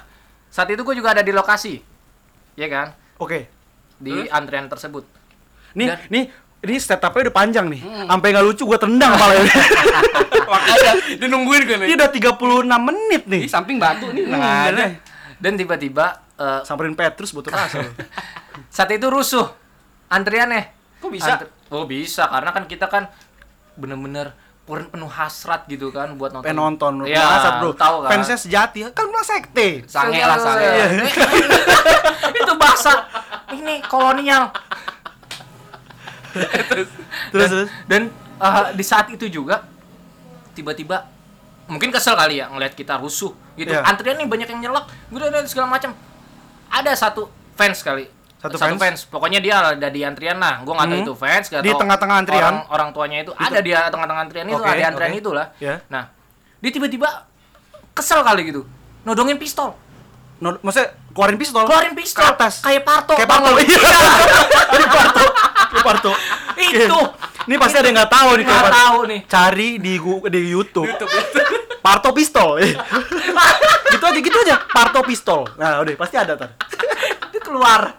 [SPEAKER 2] saat itu gue juga ada di lokasi ya kan
[SPEAKER 1] Oke.
[SPEAKER 2] di antrian tersebut
[SPEAKER 1] Nih, nih ini set up-nya udah panjang nih.
[SPEAKER 2] Hmm.
[SPEAKER 1] Sampai nggak lucu gua tendang malah.
[SPEAKER 4] Makanya dia nungguin gue
[SPEAKER 1] Ini
[SPEAKER 4] nih.
[SPEAKER 1] udah 36 menit nih.
[SPEAKER 4] Di samping batu nih.
[SPEAKER 1] Hmm,
[SPEAKER 4] Nah,
[SPEAKER 1] bener.
[SPEAKER 2] dan tiba-tiba eh,
[SPEAKER 1] Samperin Petrus butuh rasa. lu.
[SPEAKER 2] saat itu rusuh antriannya
[SPEAKER 4] Kok bisa?
[SPEAKER 2] oh bisa karena kan kita kan bener-bener pur- penuh hasrat gitu kan buat nonton
[SPEAKER 1] Penonton lu
[SPEAKER 2] ya,
[SPEAKER 1] merasa, bro.
[SPEAKER 2] tahu kan
[SPEAKER 1] Fansnya sejati kan lu sekte.
[SPEAKER 2] sange lah sange
[SPEAKER 1] Iya.
[SPEAKER 2] itu bahasa ini kolonial
[SPEAKER 1] Terus terus.
[SPEAKER 2] dan eh, di saat itu juga tiba-tiba mungkin kesel kali ya ngelihat kita rusuh gitu
[SPEAKER 1] Iya.
[SPEAKER 2] antrian nih banyak yang nyelak udah udah segala macam ada satu fans kali
[SPEAKER 1] Satu
[SPEAKER 2] fans?
[SPEAKER 1] fans?
[SPEAKER 2] pokoknya dia ada di antrian lah gua nggak tahu
[SPEAKER 1] Hmm.
[SPEAKER 2] itu fans nggak
[SPEAKER 1] Di
[SPEAKER 2] tahu
[SPEAKER 1] tengah-tengah antrian?
[SPEAKER 2] orang, orang tuanya itu ada di tengah-tengah antrian itu
[SPEAKER 1] Oke,
[SPEAKER 2] ada antrian
[SPEAKER 1] oke.
[SPEAKER 2] itulah
[SPEAKER 1] Iya.
[SPEAKER 2] nah dia tiba-tiba kesel kali gitu nodongin pistol
[SPEAKER 1] No, maksudnya keluarin pistol.
[SPEAKER 2] keluarin pistol
[SPEAKER 1] Ke atas.
[SPEAKER 2] kayak parto
[SPEAKER 1] Kayak
[SPEAKER 2] tau
[SPEAKER 1] Parto.
[SPEAKER 2] nggak lu?
[SPEAKER 1] Iya. Kayak Parto. Kayak Parto.
[SPEAKER 2] Itu.
[SPEAKER 1] Ini pasti ada yang nggak tahu nih kayak
[SPEAKER 2] nggak
[SPEAKER 1] Parto.
[SPEAKER 2] tahu nih
[SPEAKER 1] Cari di gu- di YouTube. Parto pistol. gitu aja gitu aja. Parto pistol. Nah, udah pasti ada tar.
[SPEAKER 2] dia keluar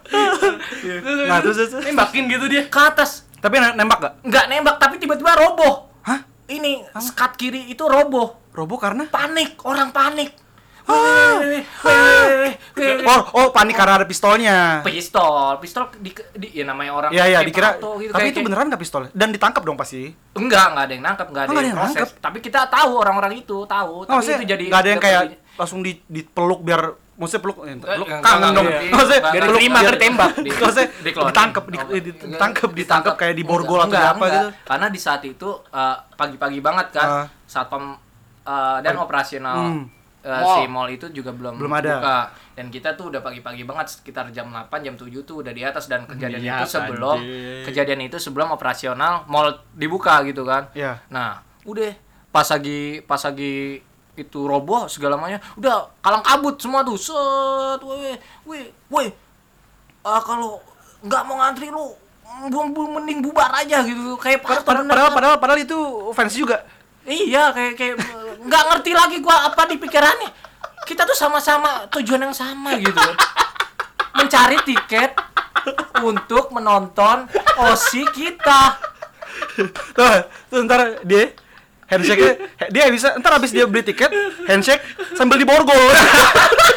[SPEAKER 2] Iya.
[SPEAKER 1] Nah, terus, terus, terus.
[SPEAKER 4] Nembakin gitu dia.
[SPEAKER 2] ke atas
[SPEAKER 1] Tapi ne- nembak gak?
[SPEAKER 2] nggak nembak tapi tiba-tiba roboh
[SPEAKER 1] Hah?
[SPEAKER 2] ini skat kiri itu roboh
[SPEAKER 1] Robo karena?
[SPEAKER 2] panik orang panik
[SPEAKER 1] Ah,
[SPEAKER 2] Weh, weh, weh, weh.
[SPEAKER 1] Oh, oh panik karena ada pistolnya.
[SPEAKER 2] pistol pistol di, di ya namanya orang
[SPEAKER 1] Iya, iya,
[SPEAKER 2] kayak
[SPEAKER 1] dikira.
[SPEAKER 2] pato gitu,
[SPEAKER 1] Tapi
[SPEAKER 2] kayak-
[SPEAKER 1] itu beneran gak pistol? Dan ditangkap dong pasti.
[SPEAKER 2] kayak- enggak enggak ada yang nangkap enggak ada,
[SPEAKER 1] Oh, nggak ada
[SPEAKER 2] yang
[SPEAKER 1] yang
[SPEAKER 2] proses tapi kita tahu orang-orang itu tahu
[SPEAKER 1] Oh,
[SPEAKER 2] tapi
[SPEAKER 1] maksudnya
[SPEAKER 2] itu jadi
[SPEAKER 1] nggak ada yang kayak
[SPEAKER 2] jadi-
[SPEAKER 1] langsung di, dipeluk biar maksudnya peluk eh,
[SPEAKER 2] Eh,
[SPEAKER 1] peluk
[SPEAKER 2] nggak,
[SPEAKER 1] kangen
[SPEAKER 2] nggak,
[SPEAKER 1] dong.
[SPEAKER 2] nggak,
[SPEAKER 1] Maksudnya
[SPEAKER 2] nggak,
[SPEAKER 1] biar
[SPEAKER 2] nggak,
[SPEAKER 1] terima
[SPEAKER 2] nggak,
[SPEAKER 1] biar tembak.
[SPEAKER 2] Iya, di-
[SPEAKER 1] Maksudnya
[SPEAKER 2] dikeluarin.
[SPEAKER 1] ditangkap di,
[SPEAKER 2] Oh,
[SPEAKER 1] eh,
[SPEAKER 2] nggak,
[SPEAKER 1] ditangkap ditangkap kayak di borgol atau
[SPEAKER 2] Enggak,
[SPEAKER 1] di apa
[SPEAKER 2] enggak.
[SPEAKER 1] gitu.
[SPEAKER 2] karena di saat itu eh, pagi-pagi banget kan
[SPEAKER 1] Ah.
[SPEAKER 2] satpam eh, dan operasional
[SPEAKER 1] Hmm.
[SPEAKER 2] eh,
[SPEAKER 4] Mall.
[SPEAKER 2] si mall itu juga belum
[SPEAKER 1] Belum ada.
[SPEAKER 2] buka. dan kita tuh udah pagi-pagi banget sekitar jam 8 jam 7 tuh udah di atas dan kejadian
[SPEAKER 4] Iya,
[SPEAKER 2] itu sebelum
[SPEAKER 4] anjing.
[SPEAKER 2] kejadian itu sebelum operasional mall dibuka gitu kan
[SPEAKER 1] Iya.
[SPEAKER 2] Nah, udah pas lagi pas lagi itu roboh segala macamnya, udah kalang kabut semua tuh. Set, weh, weh, weh. Ah, kalau nggak mau ngantri lu bu- bu- mending bubar aja gitu kayak
[SPEAKER 1] Padahal,
[SPEAKER 2] parto bener.
[SPEAKER 1] padahal padahal padahal itu fans juga.
[SPEAKER 2] iya kayak kayak eh, nggak ngerti lagi gua apa di pikirannya kita tuh sama-sama tujuan yang sama gitu mencari tiket untuk menonton osi kita
[SPEAKER 1] Tuh, tuh ntar dia handshake dia bisa ntar abis dia beli tiket handshake sambil di borgol.